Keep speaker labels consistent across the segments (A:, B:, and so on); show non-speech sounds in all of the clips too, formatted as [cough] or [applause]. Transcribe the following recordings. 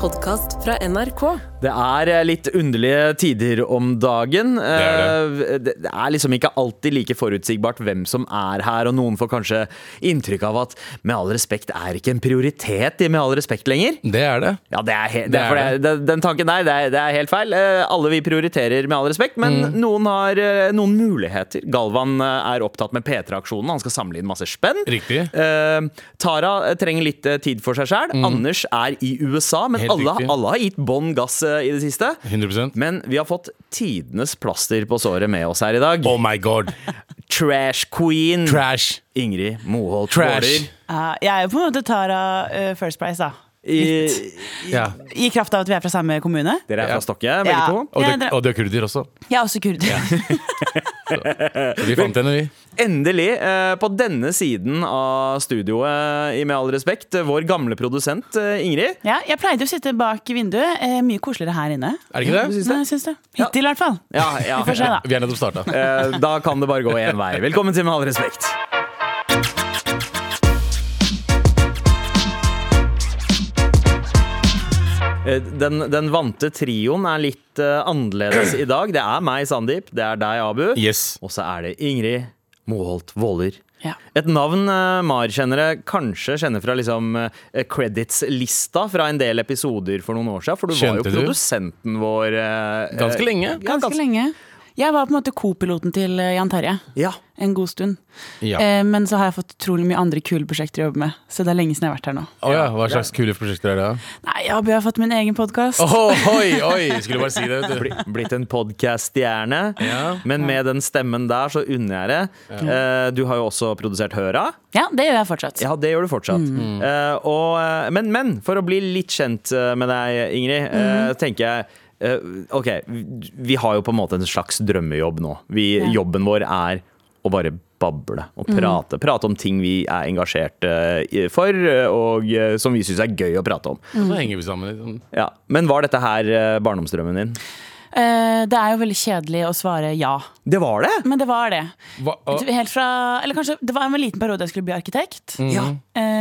A: podkast fra NRK.
B: Det er eh, litt underlige tider om dagen. Eh, Det det er liksom ikke alltid like forutsigbart hvem som er her, og noen får kanskje inntrykk av at med all respekt er ikke en prioritet i med all respekt lenger.
C: Det er det.
B: Ja, det er he det
C: Det
B: er
C: er
B: for det er, den- Den tanken der, det er, det er helt feil. Eh, Alle vi prioriterer med all respekt, men
C: Mm.
B: noen har eh, noen muligheter. Galvan eh, er opptatt med P3-aksjonen, han skal samle inn masse spenn.
C: Riktig. Mm.
B: Eh, Tara eh, trenger litt eh, tid for seg sjæl. Anders er i USA, men
C: Helt
B: alle,
C: riktig.
B: alle har gitt bånn gass eh, i det siste.
C: 100
B: Men vi har fått tidenes plaster på såret med oss her i dag.
C: Oh my god.
B: Trash queen
C: Trash.
B: Ingrid Moholt
C: Trash.
B: Våler.
D: Ja, Ah, jeg er jo på en måte Tara eh, First Price, da.
B: I-
C: Ja.
D: I kraft av at vi er fra samme kommune.
B: Dere er
C: Ja.
B: fra Stokke, begge
D: Ja.
B: to.
C: Og
D: Jeg
C: du,
D: dre-
C: og du er kurder også.
D: Jeg er også kurder. [laughs]
C: Vi fant henne, vi.
B: Endelig, eh, på denne siden av studioet, i med all respekt, eh, vår gamle produsent eh, Ingrid.
D: Ja, jeg pleide å sitte bak vinduet. Eh, mye koseligere her inne.
C: Er det ikke det?
D: Nei, jeg syns det. Hittil, i hvert fall.
B: Ja, ja.
D: Vi får se, da.
C: Vi er nettopp starta.
B: [laughs] Eh, Da kan det bare gå én vei. Velkommen til Med all respekt. Eh, Den, den vante trioen er litt eh, annerledes i dag. Det er meg, Sandeep. Det er deg, Abu.
C: Yes.
B: Og så er det Ingrid Moholt Våler.
D: Ja.
B: Et navn eh, Mar-kjennere kanskje kjenner fra liksom eh, credits-lista fra en del episoder for noen år siden. For du var jo
C: Kjente du?
B: produsenten vår eh,
C: Ganske
B: eh,
C: lenge.
B: Ja,
D: Ganske lenge. Jeg var på en måte co-piloten til eh, Jan Terje
B: Ja.
D: en god stund.
C: Ja.
D: Eh, men så har jeg fått utrolig mye andre kule prosjekter å jobbe med. Så det er lenge siden jeg har vært her nå.
C: Å ja. Hva slags kule prosjekter er det? da?
D: Nei, jeg har fått min egen podkast.
C: Oh, oi, oi! Skulle bare si det, vet du.
B: Bli- Blitt en podkast-stjerne.
C: Ja.
B: Men med den stemmen der, så unner jeg det. Eh, Du har jo også produsert Høra.
D: Ja, det gjør jeg fortsatt.
B: Ja, det gjør du fortsatt. Eh, og, eh, men, men for å bli litt kjent eh, med deg, Ingrid, eh, tenker jeg eh, OK, vi- vi har jo på en måte en slags drømmejobb nå. Vi,
D: Ja.
B: Jobben vår er å bare bable og prate. Prate om ting vi er engasjert eh, i- for, eh, og eh, som vi syns er gøy å prate om.
C: Så henger vi sammen. Liksom.
B: Ja. Men var dette her eh, barndomsdrømmen din?
D: Eh, det er jo veldig kjedelig å svare ja.
B: Det var det!
D: Men det var det.
C: Hva, å,
D: Helt fra, eller kanskje Det var en liten periode jeg skulle bli arkitekt.
C: Mm.
B: Ja.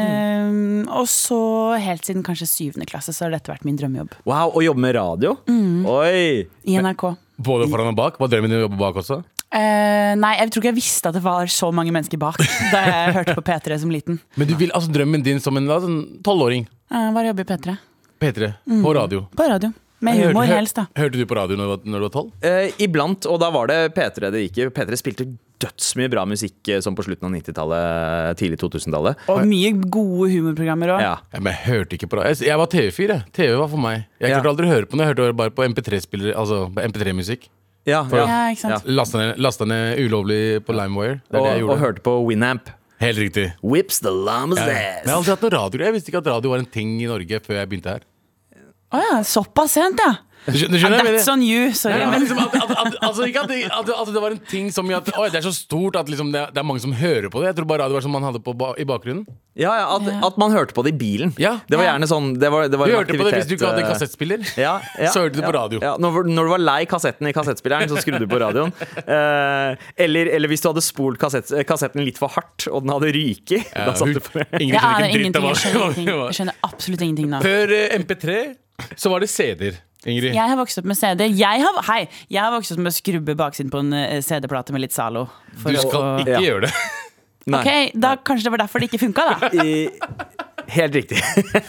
D: Ehm, og så helt siden kanskje syvende klasse så har dette vært min drømmejobb.
B: Wow, å jobbe med radio? Oi!
D: I NRK.
C: både foran og bak? Var drømmen din å jobbe bak også?
D: Eh, nei, jeg tror ikke jeg visste at det var så mange mennesker bak da
C: [laughs]
D: jeg hørte på P3 som liten.
C: Men du vil altså drømmen din som en sånn tolvåring?
D: Uh, var jobbe i P3.
C: P3. På radio.
D: På radio. Med
C: Hørte-
D: humor
C: hør-
D: Mm. helst, da.
C: Hørte du på radio når du var- når du var tolv?
B: Eh, iblant, og da var det P3 det gikk i. P3 spilte dødsmye bra musikk eh, som på slutten av 90-tallet, tidlig 2000-tallet.
D: Og mye gode humorprogrammer òg.
B: Ja.
C: Ja, men jeg hørte ikke på radio. Jeg- Jeg var TV-fyr, jeg. TV var for meg. Jeg
B: Ja.
C: klarte aldri å høre på det. Jeg hørte bare på MP3-spillere, altså på MP3-musikk.
B: Ja,
C: Ja.
D: Ja, ikke sant?
C: Lasta ned, lasta ned ulovlig på LimeWire. Det er det jeg
B: Og,
C: gjorde.
B: og hørte på Winamp.
C: Helt riktig.
B: Whips the llamas
C: Ja, ja. Men jeg har
B: ass.
C: aldri hatt noe radio. Jeg visste ikke at radio var en ting i Norge før jeg begynte her.
D: Å ja, såpass sent, ja!
C: Du skjø- du skjønner, hva jeg mener?
D: That's on you, sorry.
C: Ja, men
D: Men
C: liksom at, at, at, altså ikke at, det- at, at det var en ting som gjør at oi, det er så stort at liksom det, er- det er mange som hører på det. Jeg tror bare radio var som man hadde på ba i bakgrunnen.
B: Ja, ja, at, at man hørte på det i bilen.
C: Ja.
B: Det var gjerne sånn det var, det var
C: Du
B: en
C: hørte på det hvis du ikke
B: aktivitet,
C: hadde
B: eh,
C: kassettspiller.
B: Ja, ja,
C: Så hørte du
B: ja,
C: på radio.
B: Ja, når, når du var lei kassetten i kassettspilleren, så skrudde du på radioen. Eh, eller, eller hvis du hadde spolt kassett, kassetten litt for hardt, og den hadde ryket.
C: Ja,
B: da satt du på
C: hun- Ingrid skjønner
D: jeg
C: ikke
D: aner
C: en dritt
D: ingenting.
C: av
D: Jeg skjønner,
C: hva-
D: ingenting.
C: hva-
D: jeg skjønner absolutt ingenting nå.
C: Før eh, MP3 så var det CD-er, Ingrid.
D: Jeg har vokst opp med CD. Jeg har, hei, jeg har vokst opp med å skrubbe baksiden på en eh, CD-plate med litt Zalo. For
C: Du
D: å-
C: skal
D: å-
C: ikke
B: Ja.
D: [laughs]
C: gjøre det.
B: Nei,
D: Ok, da Kanskje det var derfor det ikke funka, da.
C: [laughs]
D: [laughs]
B: i, helt riktig.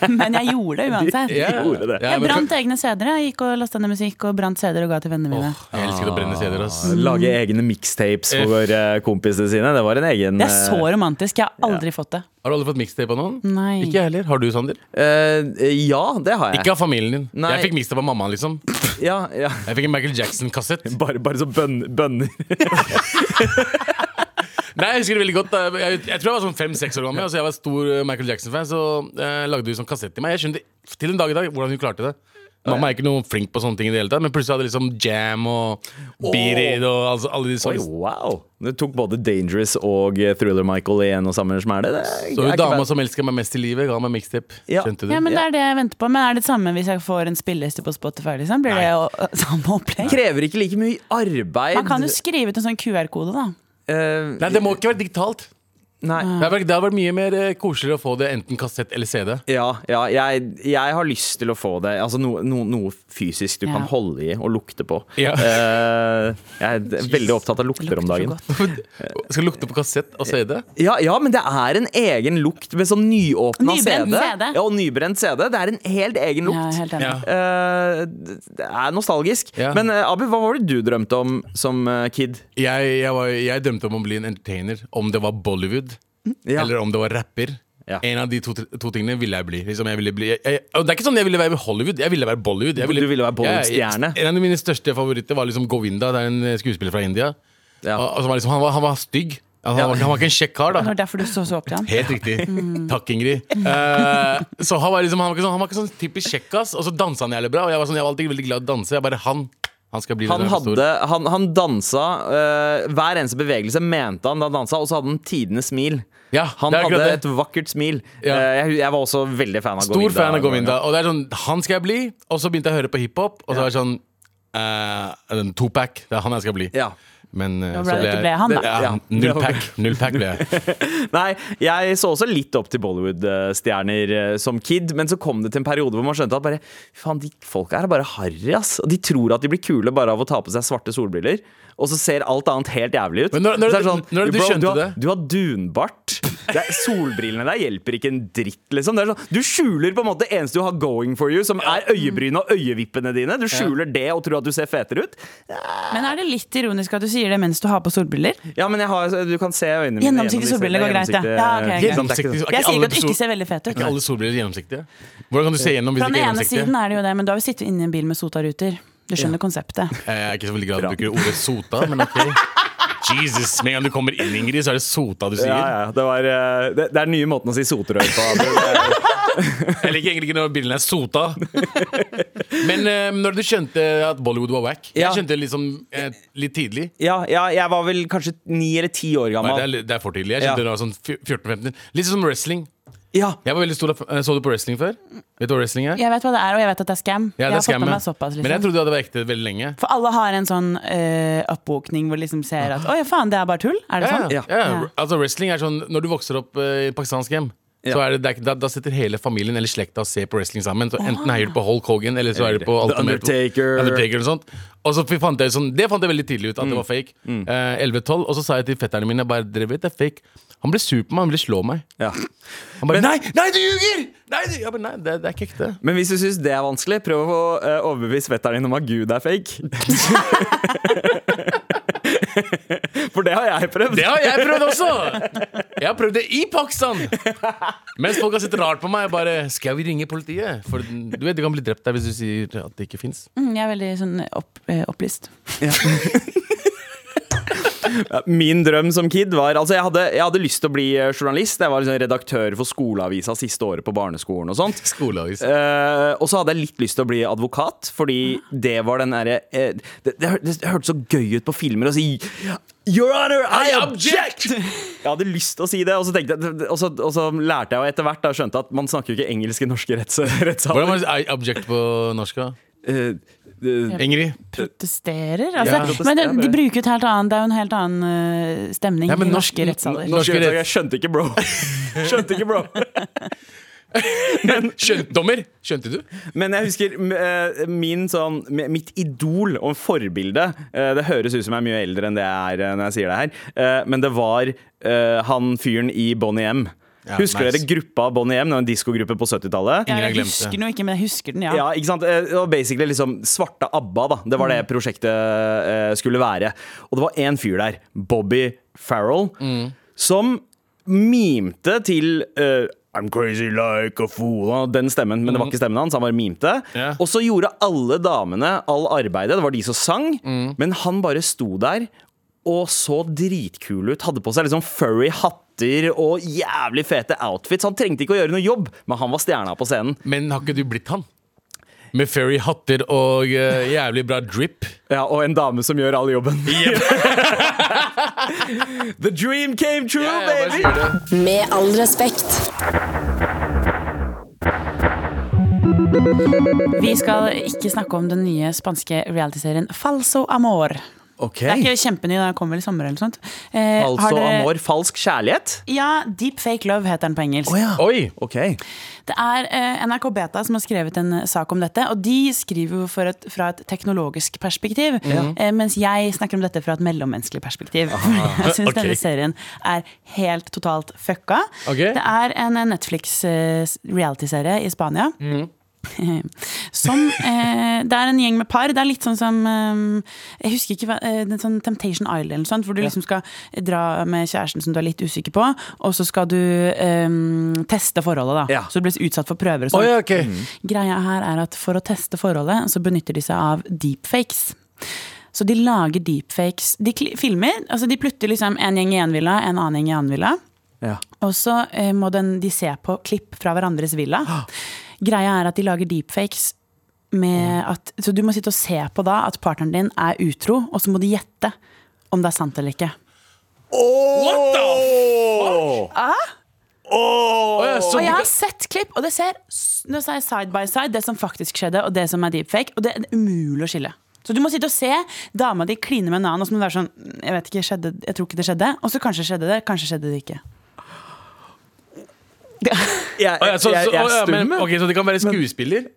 D: Men jeg gjorde det uansett.
C: Ja.
B: gjorde det.
C: Ja,
D: Jeg
C: men-
D: brant egne CD-er. Jeg gikk og lasta ned musikk og brant CD-er og ga til vennene mine.
C: Åh, Jeg elsket å brenne CD-er, ass.
B: Lage egne mixtapes for Mm. eh, kompisene sine. Det var en egen
D: Det er så
B: eh,
D: romantisk. Jeg har aldri fått det.
C: Har du aldri fått mixtape av noen?
D: Nei.
C: Ikke jeg heller. Har du, Sander?
B: eh, Ja, det har jeg.
C: Ikke av familien din.
B: Nei.
C: Jeg fikk mixtape av mamma, liksom.
B: Ja, ja.
C: Jeg fikk en Michael Jackson-kassett.
B: Bare, bare så bønn, bønner.
C: Nei, Jeg husker det veldig godt da. Jeg, jeg tror jeg var sånn fem-seks år gammel. Altså, jeg var stor eh, Michael Jackson-fan, så eh, lagde hun sånn kassett til meg. Jeg skjønte til en dag i dag hvordan hun klarte det. Mamma er ikke noe flink på sånne ting, i det hele tatt men plutselig hadde jeg liksom jam og beat it og altså, alle de
B: Oi,
C: sånne.
B: wow! Du tok både Dangerous og eh, Thriller Michael i en og samme smelle. Det er-
C: Så
B: er
C: hun
B: ikke
C: dama
B: bad.
C: som elsker meg mest i livet, ga meg mixtape.
B: Ja.
C: Skjønte du?
D: Ja, men Det er det jeg venter på. Men er det det samme hvis jeg får en spilleliste på Spotify? Liksom? Blir det jo, samme opplegg?
B: Krever ikke like mye arbeid.
D: Man kan jo skrive ut en sånn QR-kode, da.
B: Eh,
C: Nei, det må ikke være digitalt.
B: Nei.
C: Det hadde vært- det hadde vært mye mer eh, koseligere å få det enten kassett eller
B: [laughs]
C: CD.
B: Ja, ja jeg, jeg har lyst til å få det. Altså no, no, noe fysisk du
D: Ja.
B: kan holde i og lukte på.
C: Ja.
B: Eh, jeg er veldig opptatt av lukter om dagen.
D: så godt.
C: Skal lukte på kassett og CD.
B: Ja, ja, men det er en egen lukt med sånn nyåpna
D: Nybrent
B: CD.
D: CD.
B: Ja, og nybrent CD. Det er en helt egen
D: Ja,
B: lukt.
D: helt enig.
C: Ja.
B: Eh, det er nostalgisk.
C: Ja.
B: Men eh, Abu, hva var det du drømte om som eh, kid?
C: Jeg, jeg, var, jeg drømte om å bli en entertainer. Om det var Bollywood
B: Ja.
C: eller om det var rapper.
B: Ja.
C: En av de to, to tingene ville jeg bli. Liksom jeg ville bli jeg, jeg, og det er ikke sånn jeg ville være i Hollywood. Jeg ville være Bollywood. Jeg
B: Du ville være Bollywood-stjerne.
C: Jeg- jeg- En av mine største favoritter var liksom Govinda. Det er en eh, skuespiller fra India.
B: Ja.
C: Og, og som var liksom, han, var, han var stygg. Altså, han, var, han var ikke en kjekk kar, da.
D: Det var derfor du så så opp til han.
C: Helt riktig. Takk, Ingrid. Eh, så han var, liksom, han var ikke sånn, han var ikke sånn typisk kjekkas, og så dansa han jævlig bra. Og jeg var, sånn, jeg var alltid veldig glad i å danse. Jeg bare, han, han skal bli det
B: Han,
C: når jeg blir stor.
B: hadde, han, han dansa eh, Hver eneste bevegelse mente han da han dansa, og så hadde han tidenes smil.
C: Ja,
B: han
C: det er
B: hadde
C: akkurat det.
B: et vakkert smil.
C: Ja.
B: Eh, jeg, jeg var også veldig fan av
C: Stor
B: Govinda.
C: fan av Govinda. Og det er sånn, han skal jeg bli. Og så begynte jeg å høre på hiphop, og så var det sånn eh, en Tupac. Det er han jeg skal bli.
B: Ja.
C: Men eh,
D: Da
C: så
D: ble det
C: ble
D: ikke
C: jeg
D: ble han, da.
C: Ja,
B: Ja.
C: null pack. Null pack ble jeg.
B: Nei, jeg så også litt opp til Bollywood-stjerner eh, som kid, men så kom det til en periode hvor man skjønte at bare, faen, de folka her er bare harry, ass. Og de tror at de blir kule bare av å ta på seg svarte solbriller, og så ser alt annet helt jævlig ut.
C: Men når- når
B: Så er sånn,
C: du- når du skjønte
B: du har,
C: det?
B: Du har dunbart. Det er, solbrillene der hjelper ikke en dritt, liksom. Det er sånn, du skjuler på en måte det eneste du har going for you, som er øyebrynene og øyevippene dine. Du skjuler det og tror at du ser fetere ut.
D: Men er det litt ironisk at du sier det mens du har på solbriller?
B: Ja, men jeg har, du kan se øynene mine
D: Gjennomsiktige
B: gjennom disse-
D: solbriller går greit, ja. Ja,
B: Ikke sant,
D: ok,
B: det er ikke
C: Gjennomsiktig.
B: sånn-
C: Er ikke alle
D: Jeg sier ikke at du ikke
C: sol-
D: ser veldig fet
C: Er
D: ut.
C: ikke alle solbriller gjennomsiktige? Hvordan kan du se gjennom hvis
D: Fra
C: de ikke er
D: den ene
C: gjennomsiktige?
D: siden er det jo det, men da har vi sittet inne i en bil med Sota-ruter. Du skjønner konseptet.
C: Eh, Jeg er ikke så veldig glad i
B: Bra.
C: å bruke ordet sota, men ok. Jesus, Med en gang du kommer inn, Ingrid, så er det sota du sier.
B: Ja, ja. Det, var, eh, det, det er den nye måten å si soterør på. [laughs] Det- det-
C: Jeg liker egentlig ikke når bilen er sota.
D: [laughs]
C: Men eh, når du skjønte at Bollywood var wack
B: Ja.
C: Jeg skjønte liksom eh, litt tidlig.
B: Ja, ja, jeg var vel kanskje ni eller ti år
C: Nei, det,
B: gammel.
C: er, litt- det er for tidlig. Jeg skjønte
B: Ja.
C: det da jeg var sånn fj- 14-15. Litt som wrestling.
B: Ja,
C: Jeg var veldig stor, av- eh, Så du på wrestling før? Vet du hva wrestling er?
D: Jeg vet hva det er, og jeg vet at det er scam.
C: Ja,
D: jeg
C: det er
D: har fått med
C: skammet.
D: meg såpass,
C: Men jeg
D: liksom.
C: trodde det var ekte veldig lenge.
D: For alle har en sånn eh, oppvåkning hvor de liksom ser at å ja, faen, det er bare tull. Er det
C: Ja,
D: sånn?
C: ja.
B: Ja.
C: Ja. Altså Wrestling er sånn Når du vokser opp eh, i et pakistansk hjem, så
B: Ja.
C: er det, det er, ikke- da, da sitter hele familien eller slekta og ser på wrestling sammen. Så Enten heier du på Hulk Hogan eller så er du på
B: The
C: Ultimate-
B: Undertaker.
C: Undertaker og sånt. Og så f- fant jeg sånn, Det fant jeg veldig tidlig ut, at
B: Mm.
C: det var fake. Eh, 11-12, Og så sa jeg til fetterne mine bare, dere vet det er fake. Han ble sur på meg, han ville slå meg.
B: ja.
C: Han bare Nei, nei, du ljuger! Nei, du, jeg bare, nei det, det er ikke ekte.
B: Men hvis du syns det er vanskelig, prøv å eh, overbevise fetteren din om at Gud er fake. [laughs] For det har jeg prøvd.
C: Det har jeg prøvd også! Jeg har prøvd det i Pakistan! Mens folk har sett rart på meg. Jeg bare, Skal vi ringe politiet? For du vet, du kan bli drept der hvis du sier at det ikke fins.
D: Mm, jeg er veldig sånn opp, eh, opplyst.
B: Min drøm som kid var Altså, jeg hadde, jeg hadde lyst til å bli eh, journalist. Jeg var liksom redaktør for skoleavisa siste året på barneskolen og sånt.
C: Skoleavis.
B: Eh, og så hadde jeg litt lyst til å bli advokat, fordi det var den derre eh, det, det, hør- det hørtes så gøy ut på filmer å si Your Honor, I object! Jeg hadde lyst til å si det, og så, tenkte jeg, og så, og så lærte jeg og etter hvert da skjønte at man snakker jo ikke engelsk i norske retts, rettssaler.
C: Hvordan var det object på norsk? da?
B: Eh, eh,
C: Ingrid?
D: Protesterer? Altså,
B: protesterer,
D: Men det, de
B: ja.
D: bruker et helt annet Det er jo en helt annen eh, stemning
C: Ja, men
D: i
C: norsk-
D: norske rettssaler.
C: norsk-
B: skjønte- Jeg skjønte ikke, bro. [laughs] Skjønte ikke, bro.
C: Skjønt, dommer, skjønte du?
B: Men jeg husker m- eh, min sånn, m- mitt idol og forbilde eh, Det høres ut som jeg er mye eldre enn det jeg er eh, når jeg sier det her, eh, men det var eh, han fyren i Bonnie M.
C: Ja,
B: Husker
C: nice.
B: dere gruppa Bonnie M? Det var en diskogruppe på 70-tallet.
D: Ja,
C: Ingen har
D: jeg
C: glemt
D: husker
C: det.
D: den jo ikke, men jeg husker den, ja.
B: Ja, ikke sant? Eh, Og basically liksom svarte ABBA, da. Det var det prosjektet eh, skulle være. Og det var én fyr der, Bobby Farrell, som mimte til eh, I'm crazy like a fool. og Den stemmen, men det var ikke stemmen hans. Han bare mimte.
C: Ja.
B: Og så gjorde alle damene all arbeidet. Det var de som sang, men han bare sto der og så dritkul ut. Hadde på seg liksom furry hatter og jævlig fete outfits. Han trengte ikke å gjøre noe jobb, men han var stjerna på scenen.
C: Men har ikke du blitt han? Med fairy hatter og eh, jævlig bra drip.
B: Ja, og en dame som gjør all
C: [laughs]
B: jobben. The dream came true, baby!
A: Med all respekt.
D: Vi skal ikke snakke om den nye spanske realityserien Falso Amor.
B: Ok.
D: Det er ikke kjempeny, den kommer vel i sommer eller noe sånt. Eh, har
B: Altså
D: dere-
B: Amor, falsk kjærlighet?
D: Ja, Deep Fake Love heter den på engelsk.
B: Oi, ok
D: Det er eh, NRK Beta som har skrevet en eh, sak om dette, og de skriver jo for et, fra et teknologisk perspektiv, eh, mens jeg snakker om dette fra et mellommenneskelig perspektiv. [laughs] Jeg syns
C: Ok.
D: denne serien er helt totalt fucka.
C: Ok.
D: Det er en eh, Netflix eh, realityserie i Spania.
C: Mm.
D: [laughs] Som eh, Det er en gjeng med par. Det er litt sånn som eh, Jeg husker ikke hva eh, det er sånn Temptation Island, eller noe sånt, hvor du liksom skal dra med kjæresten som du er litt usikker på, og så skal du eh, teste forholdet, da.
B: Ja.
D: Så du blir utsatt for prøver og sånt.
C: ja, ok.
D: Greia her er at for å teste forholdet, så benytter de seg av deepfakes. Så de lager deepfakes. De kli- filmer, altså de plutter liksom en gjeng i en villa, en annen gjeng i en annen villa.
B: ja.
D: Og så eh, må den, de se på klipp fra hverandres villa. Greia er at de lager deepfakes med at Så du må sitte og se på da at partneren din er utro, og så må de gjette om det er sant eller ikke.
C: What the
B: Åh!
C: Å, ja, så
D: Og jeg har sett klipp, og det ser s- Nå sa jeg side by side, det som faktisk skjedde, og det som er deepfake. Og det er umulig å skille. Så du må sitte og se dama di kline med en annen, og så må du være sånn Jeg vet ikke, skjedde, jeg tror ikke det skjedde. Og så kanskje skjedde det, kanskje skjedde det ikke.
B: Jeg,
C: Å, ja, så, så,
B: jeg, jeg
C: å,
B: er
C: ja, men,
B: stum.
C: ok, så det kan være skuespiller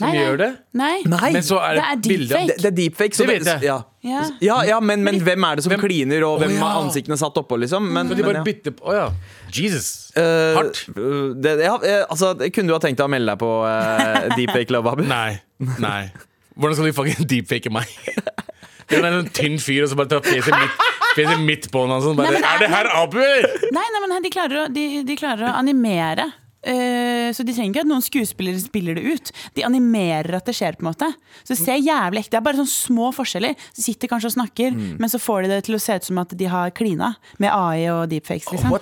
C: som
D: Nei, nei.
C: gjør det?
D: Nei.
B: Nei,
C: Men så er det,
D: Det er
C: bilder av-
D: deepfake.
B: det, det er deepfake. Så
C: Det vet jeg.
B: Ja,
D: Ja.
B: ja, ja men, men hvem er det som kliner, og hvem
C: Å, ja.
B: er ansiktene satt oppå, liksom? Men,
C: Så de
B: men,
C: bare
B: ja.
C: bytter på Å ja. Jesus.
B: Eh,
C: Hardt.
B: Det, ja, eh, altså, kunne du ha tenkt deg å melde deg på
C: [laughs]
B: eh, Deepfake Love Abu?
C: Nei. Nei. Hvordan skal de fucking deepfake meg? [laughs] Det er en sånn tynn fyr, og så bare tar fjeset midt, fjeset midt på han. og Sånn, bare,
D: Nei, men det er-
C: er det her Abu, eller?
D: Nei, nei, men de klarer å, de, de klarer å animere. Eh, så de trenger ikke at noen skuespillere spiller det ut. De animerer at det skjer. på en måte Så Det ser jævlig ekte Det er bare sånne små forskjeller. Så sitter kanskje og snakker,
B: Mm.
D: men så får de det til å se ut som at de har klina med AI og deepfakes. Liksom.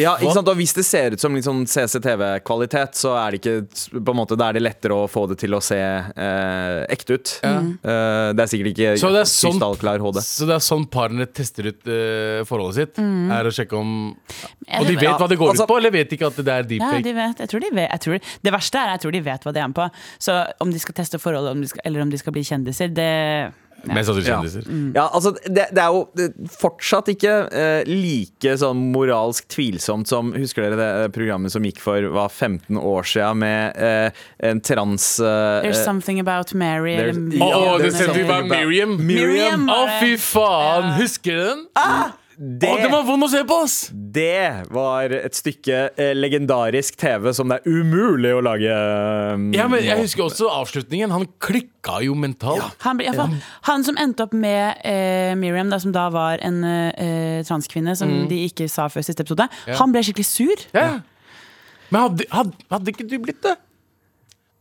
B: Ja, ikke sant? Og hvis det ser ut som litt sånn CCTV-kvalitet, så er det ikke på en måte, Da er det lettere å få det til å se eh, ekte ut. Eh, det er sikkert ikke
C: Mm. Så det er sånn-
B: krystallklar HD.
C: Så det er sånn parene tester ut eh, forholdet sitt? Er å sjekke om Og de vet
B: Ja,
C: hva det går
B: altså-
C: ut på, eller vet de ikke at det er
D: Ja, de
C: deepfake?
D: vet. Jeg tror de vet. Jeg tror, det verste er jeg tror de vet hva de er med på. Så om de skal teste forholdet om de skal, eller om de skal bli kjendiser, det
C: Mest sannsynlig
B: Ja.
C: kjendiser.
B: Ja, altså, det, det er jo det, fortsatt ikke eh, like sånn moralsk tvilsomt som Husker dere det eh, programmet som gikk for hva, 15 år siden med eh, en trans... eh,
D: There's something about Mary liksom.
B: there's-
D: eller
B: Ja,
C: Å,
B: det
C: det
B: er
C: sendte vi
B: sånn-
C: bare Miriam. Ah!
D: Miriam
C: Å,
D: var det.
C: fy faen! Husker du den? Å, den var vond å se på, ass!
B: Det var et stykke eh, legendarisk TV som det er umulig å lage eh,
C: Ja, men jeg
B: nå.
C: husker også avslutningen. Han klikka jo mentalt.
D: Han, ble, ja, for, han som endte opp med eh, Miriam, da, som da var en eh, transkvinne, som
C: Mm.
D: de ikke sa før siste episode, han ble skikkelig sur.
C: Ja. Men hadde, hadde, hadde ikke du blitt det?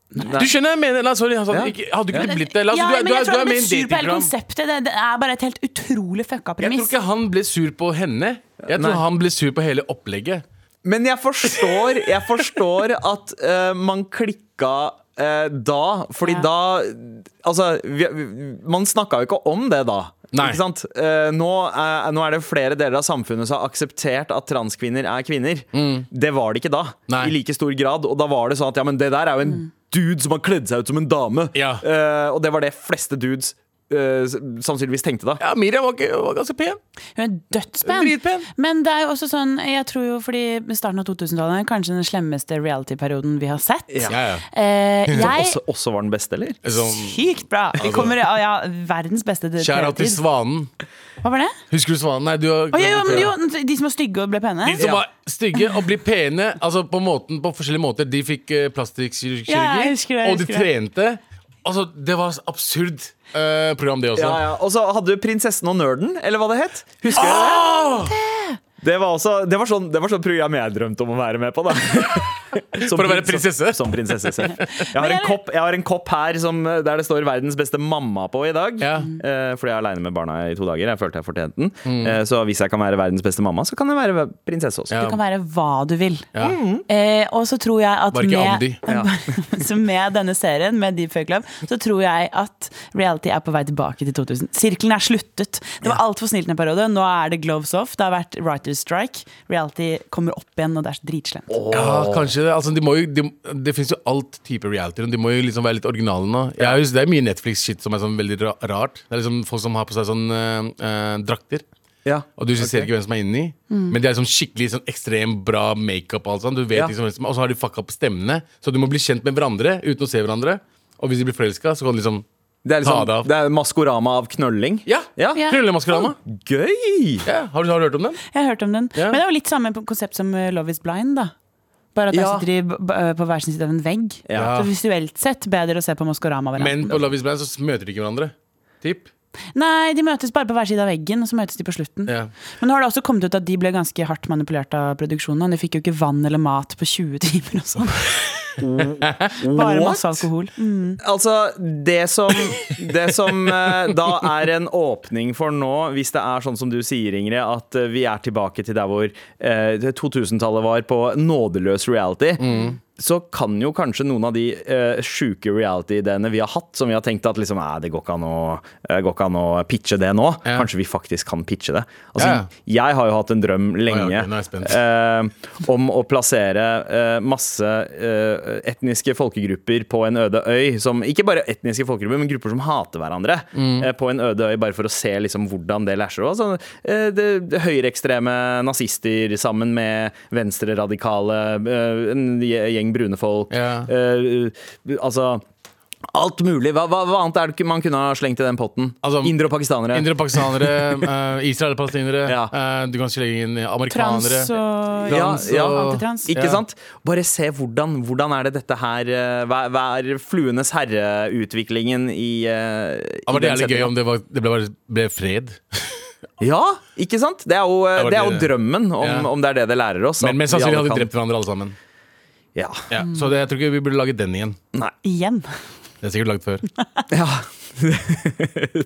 C: Du skjønner jeg mener, nei, sorry, altså,
B: Ja.
C: ikke, Hadde ikke du blitt det? eh, La oss-
D: Ja,
C: du er-
D: men
C: du
D: jeg
C: er-
D: tror
C: du
D: han
C: er
D: ble
C: med i en
D: sur på hele
C: datingprogram.
D: konseptet. Det, det er bare et helt utrolig
C: Jeg tror
D: fucka premiss.
C: ikke han ble sur på henne. Jeg tror
B: Nei.
C: han ble sur på hele opplegget.
B: Men jeg forstår, jeg forstår at eh, man klikka eh, da, fordi
D: Ja.
B: da Altså, vi, vi, man snakka jo ikke om det da.
C: Nei.
B: Ikke sant? Eh, nå, er, nå er det flere deler av samfunnet som har akseptert at transkvinner er kvinner. Det var det ikke da,
C: Mm. Nei.
B: i like stor grad. Og da var det sånn at ja, men det der er jo en
D: Mm.
B: dude som har kledd seg ut som en dame.
C: Ja.
B: Eh, og det var det fleste dudes eh, s- sannsynligvis tenkte da.
C: Ja, Miriam var, ikke- var ganske pen.
D: Hun er dødspen.
C: Dritpen.
D: Men det er jo også sånn, jeg tror jo fordi starten av 2000-tallet er kanskje den slemmeste reality-perioden vi har sett.
C: Ja, ja.
D: Eh, jeg
B: Også, også var den beste, eller?
C: Sånn,
D: Sykt bra! Vi kommer ja, ja, verdens beste
C: Kjære til
D: TV-tid.
C: Svanen.
D: Hva var det?
C: Husker du Svanen? Nei, du har
D: Å, jo, jo, men jo, de som var stygge og ble pene?
C: De som
B: Ja.
C: var stygge og ble pene altså på, måten, på forskjellige måter. De fikk eh, plastikkirurgi,
D: Ja, jeg husker det, jeg
C: og de
D: husker
C: trente. Altså, det var absurd eh, program, det også.
B: Ja, ja. Og så hadde du Prinsessen og nerden, eller hva det het. Husker du det?
D: Ah!
B: Det var, også, det, var sånn, det var sånn program jeg drømte om å være med på.
C: [laughs]
B: da Som
C: For å være
B: prins-
C: prinsesse?
B: Som, som prinsesse
C: [laughs]
B: selv. Jeg har, en
D: jeg-
B: kopp, jeg har en kopp her som, eh, der det står 'Verdens beste mamma' på i dag.
C: Ja.
B: Eh, fordi jeg er aleine med barna i to dager. Jeg følte jeg fortjente den.
C: Mm.
B: Eh, så hvis jeg kan være verdens beste mamma, så kan jeg være prinsesse også.
C: Ja.
D: Du kan være hva du vil.
C: Ja.
D: Eh, og så tror jeg at
C: Var det ikke
D: med,
C: Andy?
D: [laughs] så med denne serien, med Deep Fake Love, så tror jeg at reality er på vei tilbake til 2000. Sirkelen er sluttet. Det var altfor snilt en periode. Nå er det gloves off. Det har vært writer's strike. Reality kommer opp igjen, og det er så dritslemt.
C: Ja, kanskje kanskje det. Altså, de må jo, de, det fins jo alt type reality, og de må jo liksom være litt originale nå. Jeg har husker, det er mye Netflix-shit som er sånn veldig ra rart. Det er liksom folk som har på seg sånn eh, eh, drakter.
B: Ja.
C: Og du ser ikke hvem som er inni, men de er sånn skikkelig sånn ekstremt bra makeup. Og alt sånt. Du vet
B: Ja.
C: liksom hvem som er- Og så har de fucka opp stemmene, så du må bli kjent med hverandre uten å se hverandre. Og hvis de blir forelska, så kan du liksom
B: Det er
C: Ta
B: liksom
C: det av.
B: det er maskorama av knølling.
C: Ja!
B: Ja.
D: Ja.
C: Krøllemaskerama.
B: Gøy!
C: Ja. Har, du- har du hørt om den?
D: Jeg har hørt om den.
C: Ja.
D: Men det er jo litt samme konsept som eh, Love is blind, da. Bare at der
B: Ja.
D: sitter de b- b- på hver sin side av en vegg.
B: Ja.
D: Så visuelt sett bedre å se på Maskorama. hverandre.
C: Men på Love is Blind så møter de ikke hverandre. Typ.
D: Nei, de møtes bare på hver side av veggen, og så møtes de på slutten.
C: Ja.
D: Men nå har det også kommet ut at de ble ganske hardt manipulert av produksjonen. De fikk jo ikke vann eller mat på 20 timer og sånn. Bare masse alkohol. Mm.
B: Altså, det som, det som eh, da er en åpning for nå, hvis det er sånn som du sier, Ingrid, at eh, vi er tilbake til der hvor eh, 2000-tallet var på nådeløs reality.
C: Mm.
B: Så kan jo kanskje noen av de eh, sjuke reality-ideene vi har hatt, som vi har tenkt at liksom, "Nei, det går ikke, an å, eh, går ikke an å pitche det nå,
C: Ja.
B: kanskje vi faktisk kan pitche det. Altså,
C: Ja,
B: Jeg har jo hatt en drøm
C: Å, ja,
B: lenge
C: ok, nå er jeg spent.
B: eh, om å plassere eh, masse eh, etniske folkegrupper på en øde øy. Som, ikke bare etniske folkegrupper, men grupper som hater hverandre.
C: Mm.
B: eh, på en øde øy, bare for å se liksom, hvordan det læsjer. Altså, eh, det, det høyreekstreme nazister sammen med venstreradikale, eh, en gjeng brune folk.
C: Ja.
B: eh, altså Alt mulig. Hva, hva, hva annet er det ikke man kunne ha slengt i den potten?
C: Altså,
B: Indre og pakistanere.
C: Indre pakistanere, eh, israelere, palestinere.
B: Ja.
C: eh, du kan legge inn
D: Trans
C: amerikanere.
D: og
B: Ja,
C: Trans
B: ja.
C: og-
D: Antitrans.
B: Ikke
C: Ja.
B: sant? Bare se hvordan, hvordan er det dette her eh, Hva hva er fluenes herre-utviklingen i, eh,
C: Ja,
B: i
C: var det
B: den
C: jævlig gøy
B: settingen?
C: om det, var, det ble, bare- ble fred.
B: Ja, ikke sant? Det er jo, eh,
C: Det var
B: det er jo
C: det-
B: drømmen, om,
C: Ja.
B: om det er det det lærer oss. at
C: Men mest
B: vi alle
C: sannsynlig hadde de
B: kan-
C: drept hverandre alle sammen.
B: Ja.
C: Ja. Så det, jeg tror ikke vi burde lage den igjen.
B: Nei. [laughs]
D: Igjen.
C: Det er sikkert laget før.
B: Ja.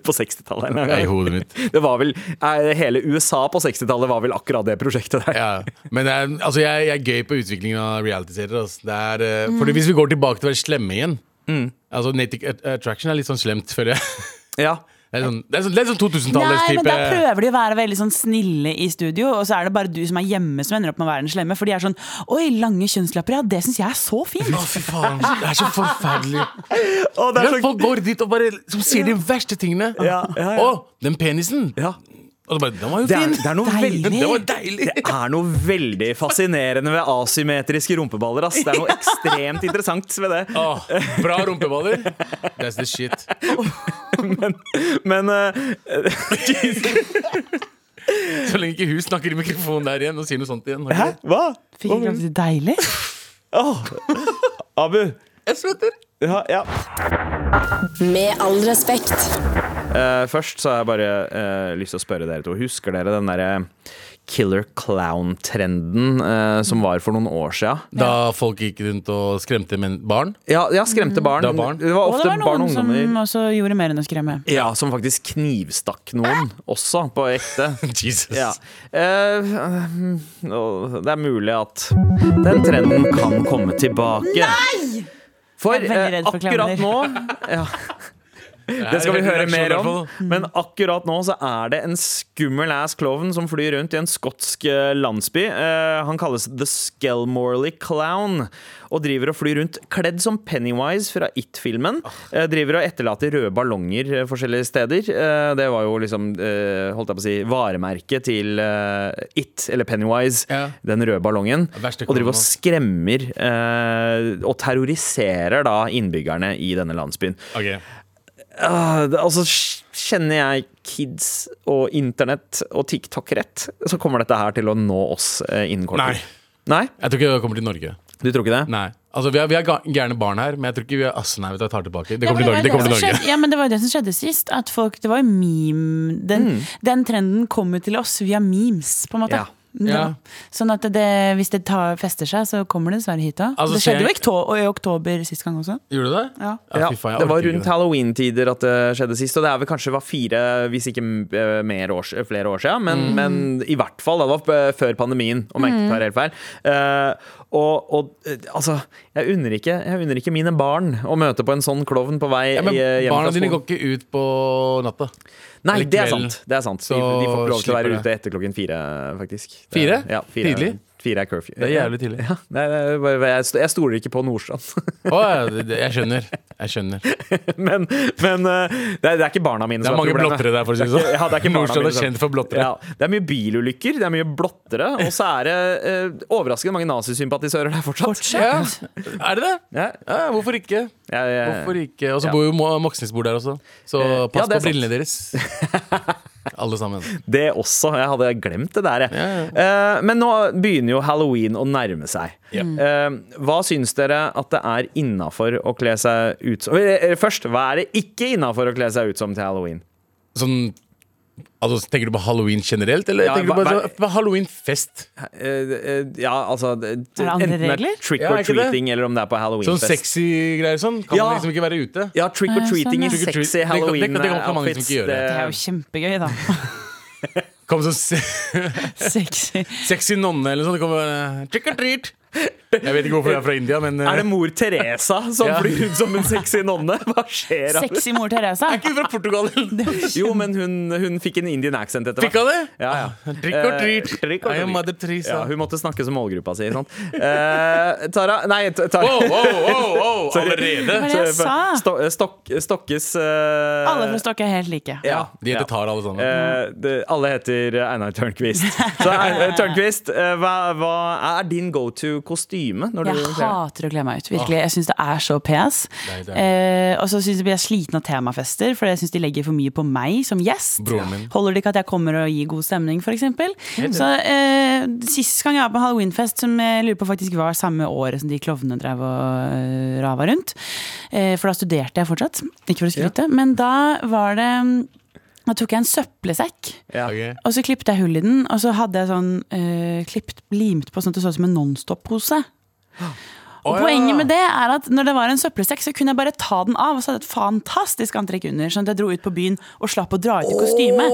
B: på 60-tallet. en
C: Det er I
B: gang.
C: hodet mitt.
B: Det var vel eh, Hele USA på 60-tallet var vel akkurat det prosjektet der.
C: Ja. Men det er, altså, jeg, jeg er gøy på utviklingen av realityserier. Altså. Det er, eh, Fordi hvis vi går tilbake til å være slemme igjen
B: Mm.
C: Altså Natic Attraction er litt sånn slemt, føler jeg. [laughs]
B: Ja.
C: Det er sånn, det er sånn, det er sånn
D: Nei,
C: 2000-tallets
D: men
C: type.
D: da prøver de å være veldig sånn snille i studio, og så er det bare du som er hjemme som ender opp med å være den slemme. For de er sånn Oi, lange kjønnslapper, ja, det syns jeg er så fint.
C: Å, fy faen. Det er så forferdelig.
B: Å, [laughs] det er så-
C: Folk går dit og bare som sier de verste tingene.
B: Ja, ja, ja.
C: Å, den penisen!
B: ja.
C: Og så bare, den var jo
B: Det er,
C: fin!
B: det er noe
D: Deilig.
B: veldig
C: Den var deilig! [laughs]
B: Det er noe veldig fascinerende ved asymmetriske rumpeballer. Ass. Det er noe ekstremt interessant ved det.
C: Åh, bra rumpeballer. That's the shit.
B: Men eh,
C: Så lenge ikke hun snakker i mikrofonen der igjen og sier noe sånt igjen. har
B: Hæ?
C: ikke det?
B: Hva?
D: Fikk ikke lov til å si deilig.
B: Åh. Abu.
C: Jeg svetter!
B: Ja, ja.
A: Med all respekt.
B: Eh, først så har jeg bare eh, lyst til å spørre dere to. Husker dere den derre killer clown-trenden eh, som var for noen år sia?
C: Da folk gikk rundt og skremte men barn.
B: Ja, ja, skremte barn.
C: Det var barn.
B: Det var
D: Og
B: ofte
D: det var
B: barn
D: noen
B: og
D: som
B: ungdommer.
D: også gjorde mer enn å skremme.
B: Ja, som faktisk knivstakk noen, også, på ekte.
C: [laughs] Jesus.
B: Ja. Eh, og det er mulig at den trenden kan komme tilbake. Nei! For,
D: Jeg er veldig
B: eh,
D: redd for
B: akkurat nå
D: [laughs]
B: ja, Det skal vi høre mer om. Mm. Men akkurat nå så er det en skummel ass klovn som flyr rundt i en skotsk eh, landsby. Eh, han kalles The Skelmorley Clown og driver og flyr rundt kledd som Pennywise fra It-filmen. Eh, driver og etterlater røde ballonger eh, forskjellige steder. Eh, det var jo liksom, eh, holdt jeg på å si, varemerket til eh, It, eller Pennywise,
C: Ja.
B: den røde ballongen.
C: Det verste
B: Og driver og
C: klovnen.
B: skremmer eh, og terroriserer da innbyggerne i denne landsbyen.
C: Ok.
B: Ah, det- altså, sj- kjenner jeg kids og internett og TikTok rett, så kommer dette her til å nå oss eh, innen kort
C: Nei.
B: tid. Nei?
C: Jeg tror ikke det kommer til Norge.
B: Du tror ikke det?
C: Nei. Altså, Vi har, vi har ga- gærne barn her, men jeg tror ikke vi har Asse, nei, vet du, jeg tar tilbake. Det
D: Ja,
C: kommer til Norge.
D: men
C: Det kommer til
D: var jo
C: Norge.
D: som skjedde- Ja, men det var jo det som skjedde sist. At folk, det var jo meme Den, den trenden kom jo til oss via memes, på en måte.
B: Ja.
C: Mm. Ja.
D: Sånn at det, hvis det tar, fester seg, så kommer det dessverre hit òg.
C: Altså,
D: det skjedde jo i,
C: skjer-
D: okto- og i oktober sist gang også.
C: Gjorde du det?
D: Ja.
B: Ja,
C: fy faen, jeg
B: det var
C: orker ikke
B: rundt halloween-tider at det skjedde sist, og det er vel kanskje var fire, hvis ikke eh, mer år, s- flere år siden, men, men i hvert fall, det var eh, før pandemien, om jeg ikke tar helt feil. Eh, og, og eh, altså, jeg unner, ikke, jeg unner ikke mine barn å møte på en sånn klovn på vei
C: Ja, men
B: eh, hjem
C: barna
B: fra
C: dine
B: skolen.
C: går ikke ut på natta.
B: Nei,
C: Eller
B: det er
C: kveld.
B: sant. Det er sant. De,
C: Så
B: de får ikke lov til å
C: slipper
B: være
C: det.
B: ute etter klokken fire, faktisk. Det er-
C: Fire?
B: Ja, fire er-
C: Tidlig?
B: Fire er curfew.
C: Det er jævlig tidlig.
B: Ja, [laughs] nei, nei, bare- jeg, sto- jeg stoler ikke på Nordstrand. [laughs]
C: Å, ja, det- det- jeg skjønner. Jeg skjønner. Det
B: men men eh, det, er, det er ikke barna mine
C: er
B: som
C: mange
B: problemet.
C: blottere der, for å si det sånn.
B: Ja, det er ikke barna
C: Nordstrand
B: mine
C: er
B: som-
C: kjent for blottere.
B: Ja, det er mye bilulykker, det er mye blottere, og så er det eh, overraskende mange nazisympatisører der fortsatt.
C: Ja. Er det det?
B: Ja,
C: Ja, hvorfor ikke?
B: ja, ja, ja.
C: Hvorfor ikke? Og så
B: Ja.
C: bor jo Mo- Moxnes bor der også, så
B: Eh,
C: pass
B: ja, det er
C: på brillene [laughs] deres. Alle sammen.
B: Det også. Jeg hadde glemt det der, jeg. Eh, men nå begynner jo halloween å nærme seg.
D: Mm.
B: Eh, hva syns dere at det er innafor å kle seg ut som Eller, eller Først, hva er det ikke innafor å kle seg ut som til halloween?
C: Sånn Altså, Tenker du på halloween generelt, eller
B: Ja,
C: tenker du på,
B: hva- hva-
C: sånn- på halloweenfest?
B: Eh, eh, ja, altså det-
D: det andre
B: Enten det er
D: regler?
B: trick
C: Ja,
B: or
C: er ikke det?
B: treating, eller om det er på halloweenfest.
C: Sånn sexy greier sånn? Kan
B: Ja.
C: man liksom ikke være ute?
B: Ja, trick or
D: Eh,
B: treating
D: sånn, ja.
B: i
D: Trick or treat-
B: sexy eh,
C: det kan- det kan- det kan mange
B: halloween-outfits.
C: som ikke gjøre.
D: Det er jo kjempegøy,
C: [laughs]
D: da.
C: Kom sånn se [laughs]
D: Sexy.
C: sexy nonne eller sånn. Det kommer bare Trick or treat! Jeg vet ikke hvorfor jeg er fra India, men eh,
B: Er
C: [laughs]
B: det mor Teresa som
C: Ja.
B: flyr ut som en sexy nonne? Hva skjer? da?
D: Sexy mor Teresa.
C: ikke fra [laughs] Portugal.
B: [laughs] Jo, men hun, hun fikk en indian accent etter
C: Fikk
B: hvert.
C: av det? Ah,
B: Ja, ja.
C: Trick or treat.
B: Eh, trick or
C: I am
B: treat.
C: Mother Teresa.
B: Ja, hun måtte snakke som målgruppa si. Sant? Eh, Tara Nei, t- Tara. [laughs]
C: Wow, wow, wow, wow,
B: Sorry.
C: allerede?
D: Hva var det jeg sa?
B: Sto, eh, stokk, stokkes eh,
D: Alle fra Stokke er helt like.
B: Ja.
C: De heter Tara, alle sammen.
B: Eh, det, alle heter Einar Tørnquist. Så
D: [laughs]
B: eh, Tørnquist, eh, hva, hva er din go to kostyme? Når du
D: Jeg hater å kle meg ut. virkelig Jeg syns det er så pes.
C: Nei, det er-
D: Eh, og så syns jeg blir jeg sliten av temafester, for jeg syns de legger for mye på meg som gjest.
C: Broren min.
D: Holder det ikke at jeg kommer og gir god stemning, f.eks.? Så eh, sist gang jeg var på halloweenfest, som jeg lurer på faktisk var samme året som de klovnene drev og eh, rava rundt, eh, for da studerte jeg fortsatt, ikke for å skryte, men da var det mm, da tok jeg en søppelsekk
B: ja.
C: Ok.
D: og så klippet jeg hull i den, og så hadde jeg sånn eh, klippt, limt på sånn at det så ut som en Nonstop-pose. Og
C: Å, ja.
D: Poenget med det er at når det var en søppelsekk, så kunne jeg bare ta den av. Og så hadde jeg et fantastisk antrekk under, sånn at jeg dro ut på byen og slapp å dra ut i kostyme.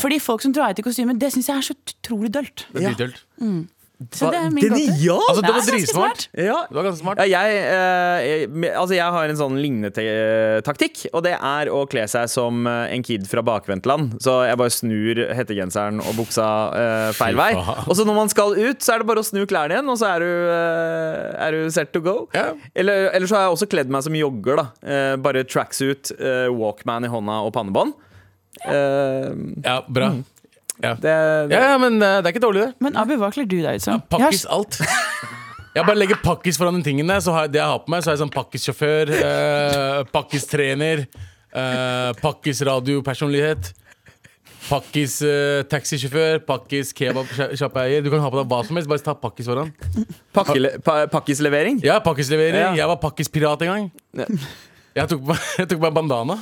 D: Fordi folk som drar ut i kostyme, det syns jeg er så utrolig dølt.
C: Det er dritkult.
D: Så det er min gåte.
B: Genial!
C: Altså, det var
D: Det er ganske
C: dritsmart.
D: smart.
B: Ja.
C: Det var ganske smart.
B: Ja, jeg, eh, jeg, me- altså jeg har en sånn lignende te taktikk, og det er å kle seg som eh, en kid fra bakvendtland. Så jeg bare snur hettegenseren og buksa eh, feil vei.
C: faen.
B: Og så når man skal ut, så er det bare å snu klærne igjen, og så er du, eh, er du set to go.
C: Ja.
B: Eller, eller så har jeg også kledd meg som jogger, da. Eh, bare tracksuit, eh, Walkman i hånda og pannebånd. Eh,
C: Ja, bra. Ja.
B: det, det,
C: Ja, ja, men eh, det er ikke dårlig, det.
D: Men Abu, hva kler du deg ut som?
C: Pakkis
D: Jeg har-
C: alt. Jeg bare legger pakkis foran den tingen der. Så har jeg, det jeg har på meg, så er jeg sånn pakkissjåfør, eh, pakkistrener, eh, pakkisradiopersonlighet. Pakkis eh, taxisjåfør, pakkis kebabsjappeeier. Du kan ha på deg hva som helst, bare ta pakkis foran.
B: pakkele, pa, pakkislevering.
C: Ja, pakkislevering.
B: Ja.
C: Jeg var pakkispirat en gang. Jeg tok, på- jeg tok på meg [laughs] bandana.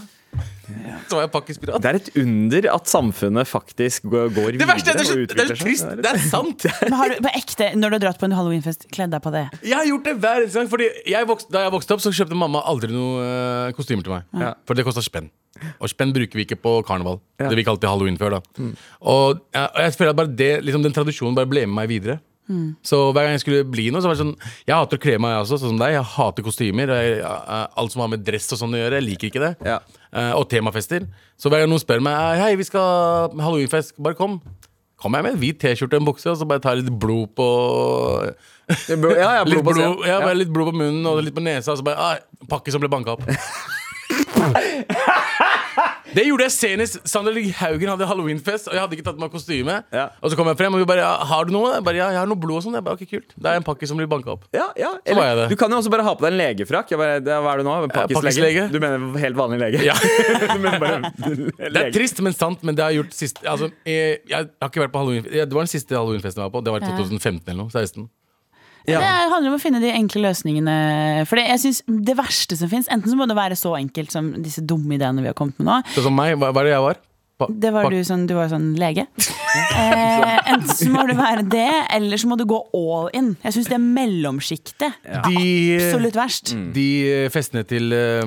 C: Så var jeg pakkispirat.
B: Det er et under at samfunnet faktisk går går videre.
C: Det verste er
B: og
C: det, er så- det
B: utvikler
C: er
B: seg.
C: så trist. Det er sant.
D: Men har du på ekte, når du har dratt på en halloweenfest, kledd deg på det?
C: Jeg har gjort det hver eneste gang. Fordi jeg vokste, Da jeg vokste opp, så kjøpte mamma aldri noe eh, kostymer til meg. For det kosta spenn. Og spenn bruker vi ikke på karneval. Det vi kalte halloween før. da og, jeg, og jeg føler at bare det, liksom, den tradisjonen bare ble med meg videre. Så hver gang jeg skulle bli noe, så var det sånn Jeg hater å kle meg, jeg også, sånn som deg. Jeg hater kostymer. og Jeg, jeg- alt som har med dress og sånn å gjøre. Jeg liker ikke det.
B: Ja.
C: Eh, og temafester. Så hver gang noen spør meg «Eh, Hei, vi skal ha halloweenfest, bare kom. Kommer jeg med en hvit T-skjorte og en bukse, og så bare tar jeg litt blod på [laughs]
B: Det er blod- Ja, ja,
C: Litt
B: blod på
C: blod,
B: scenen.
C: ja, bare litt blod på munnen og litt på nesa. Og så bare, ah, pakke som ble banka
B: [laughs]
C: opp. Det gjorde jeg senest. Sander Lie Haugen hadde halloweenfest, og jeg hadde ikke tatt på meg kostyme.
B: Ja.
C: Og så kom jeg frem, og vi bare ja, 'Har du noe?' Jeg bare, ja, 'Jeg har noe blod og sånn'. Jeg bare, ok, kult. Det er en pakke som blir banka opp.
B: Ja, ja.
C: var jeg
B: Eller,
C: det.
B: du kan jo også bare ha på deg en legefrakk. Jeg bare, det, hva er du nå? Pakkislege?
C: pakkislege.
B: Du mener helt vanlig lege?
C: Ja.
B: [laughs] du mener bare
C: [laughs] Det er
B: lege.
C: trist, men sant. Men det har jeg gjort sist altså, jeg, jeg har ikke vært på halloween Det var den siste halloweenfesten jeg var på. Det var i
D: Ja.
C: 2015 eller noe. 16.
B: Ja.
D: Det er- handler om å finne de enkle løsningene. For det, jeg synes det verste som fins, enten så må det være så enkelt som disse dumme ideene vi har kommet med nå.
C: Sånn som meg. Hva, hva er det jeg var? Pa-
D: Det var
C: pak-
D: du, sånn, du var jo sånn lege. Eh, enten så må det være det, eller så må du gå all in. Jeg syns det mellomsjiktet er
C: De-
D: absolutt verst.
C: De eh, festene til eh,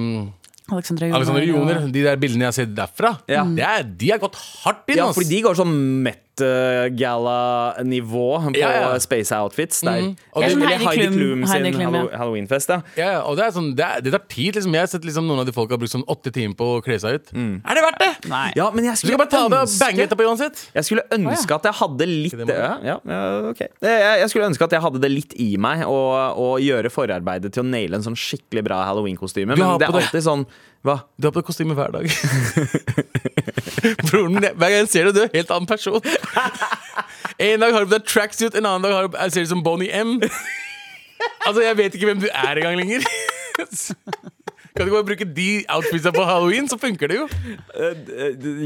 D: Alexandra Joner. eh,
C: Alexander Joner,
D: og-
C: de der bildene jeg har sett derfra,
B: Ja.
C: det er, de har gått hardt inn.
B: ja,
C: ass.
B: fordi de går sånn mett Met-gala-nivå på
C: Ja, ja.
B: space outfits. Der.
C: Mhm. Og
B: Eller
C: det-
B: Heidi, Klum, sin
D: Heidi Klum, ja.
B: Hallo- Halloweenfest, ja.
C: Ja, ja, og det, er sånn, det, er, det tar tid. liksom Jeg har sett liksom noen av de folk har brukt sånn åtte timer på å kle seg ut.
B: Mm.
C: Er det verdt det?
D: Nei.
B: ja. Men jeg
C: Du skal
B: skulle
C: bare ta av deg og bange
B: ønske
C: etterpå uansett.
B: Jeg skulle ønske at jeg hadde litt
C: det må du.
B: ja, ja, ja, ok. jeg, jeg skulle ønske at jeg hadde det litt i meg å, å gjøre forarbeidet til å naile en sånn skikkelig bra halloween-kostyme.
C: Du har
B: Men det
C: på
B: er
C: det.
B: alltid sånn Hva?
C: Du har på deg kostyme hver dag. [laughs] Broren min, hver gang jeg ser deg, du er en helt annen person. [laughs] En dag har du på deg tracksuit, en annen dag har du, jeg ser du som Bonnie M. Altså, jeg vet ikke hvem du er engang lenger. [laughs] Kan du bare bruke de outfitsa på halloween, så funker det jo.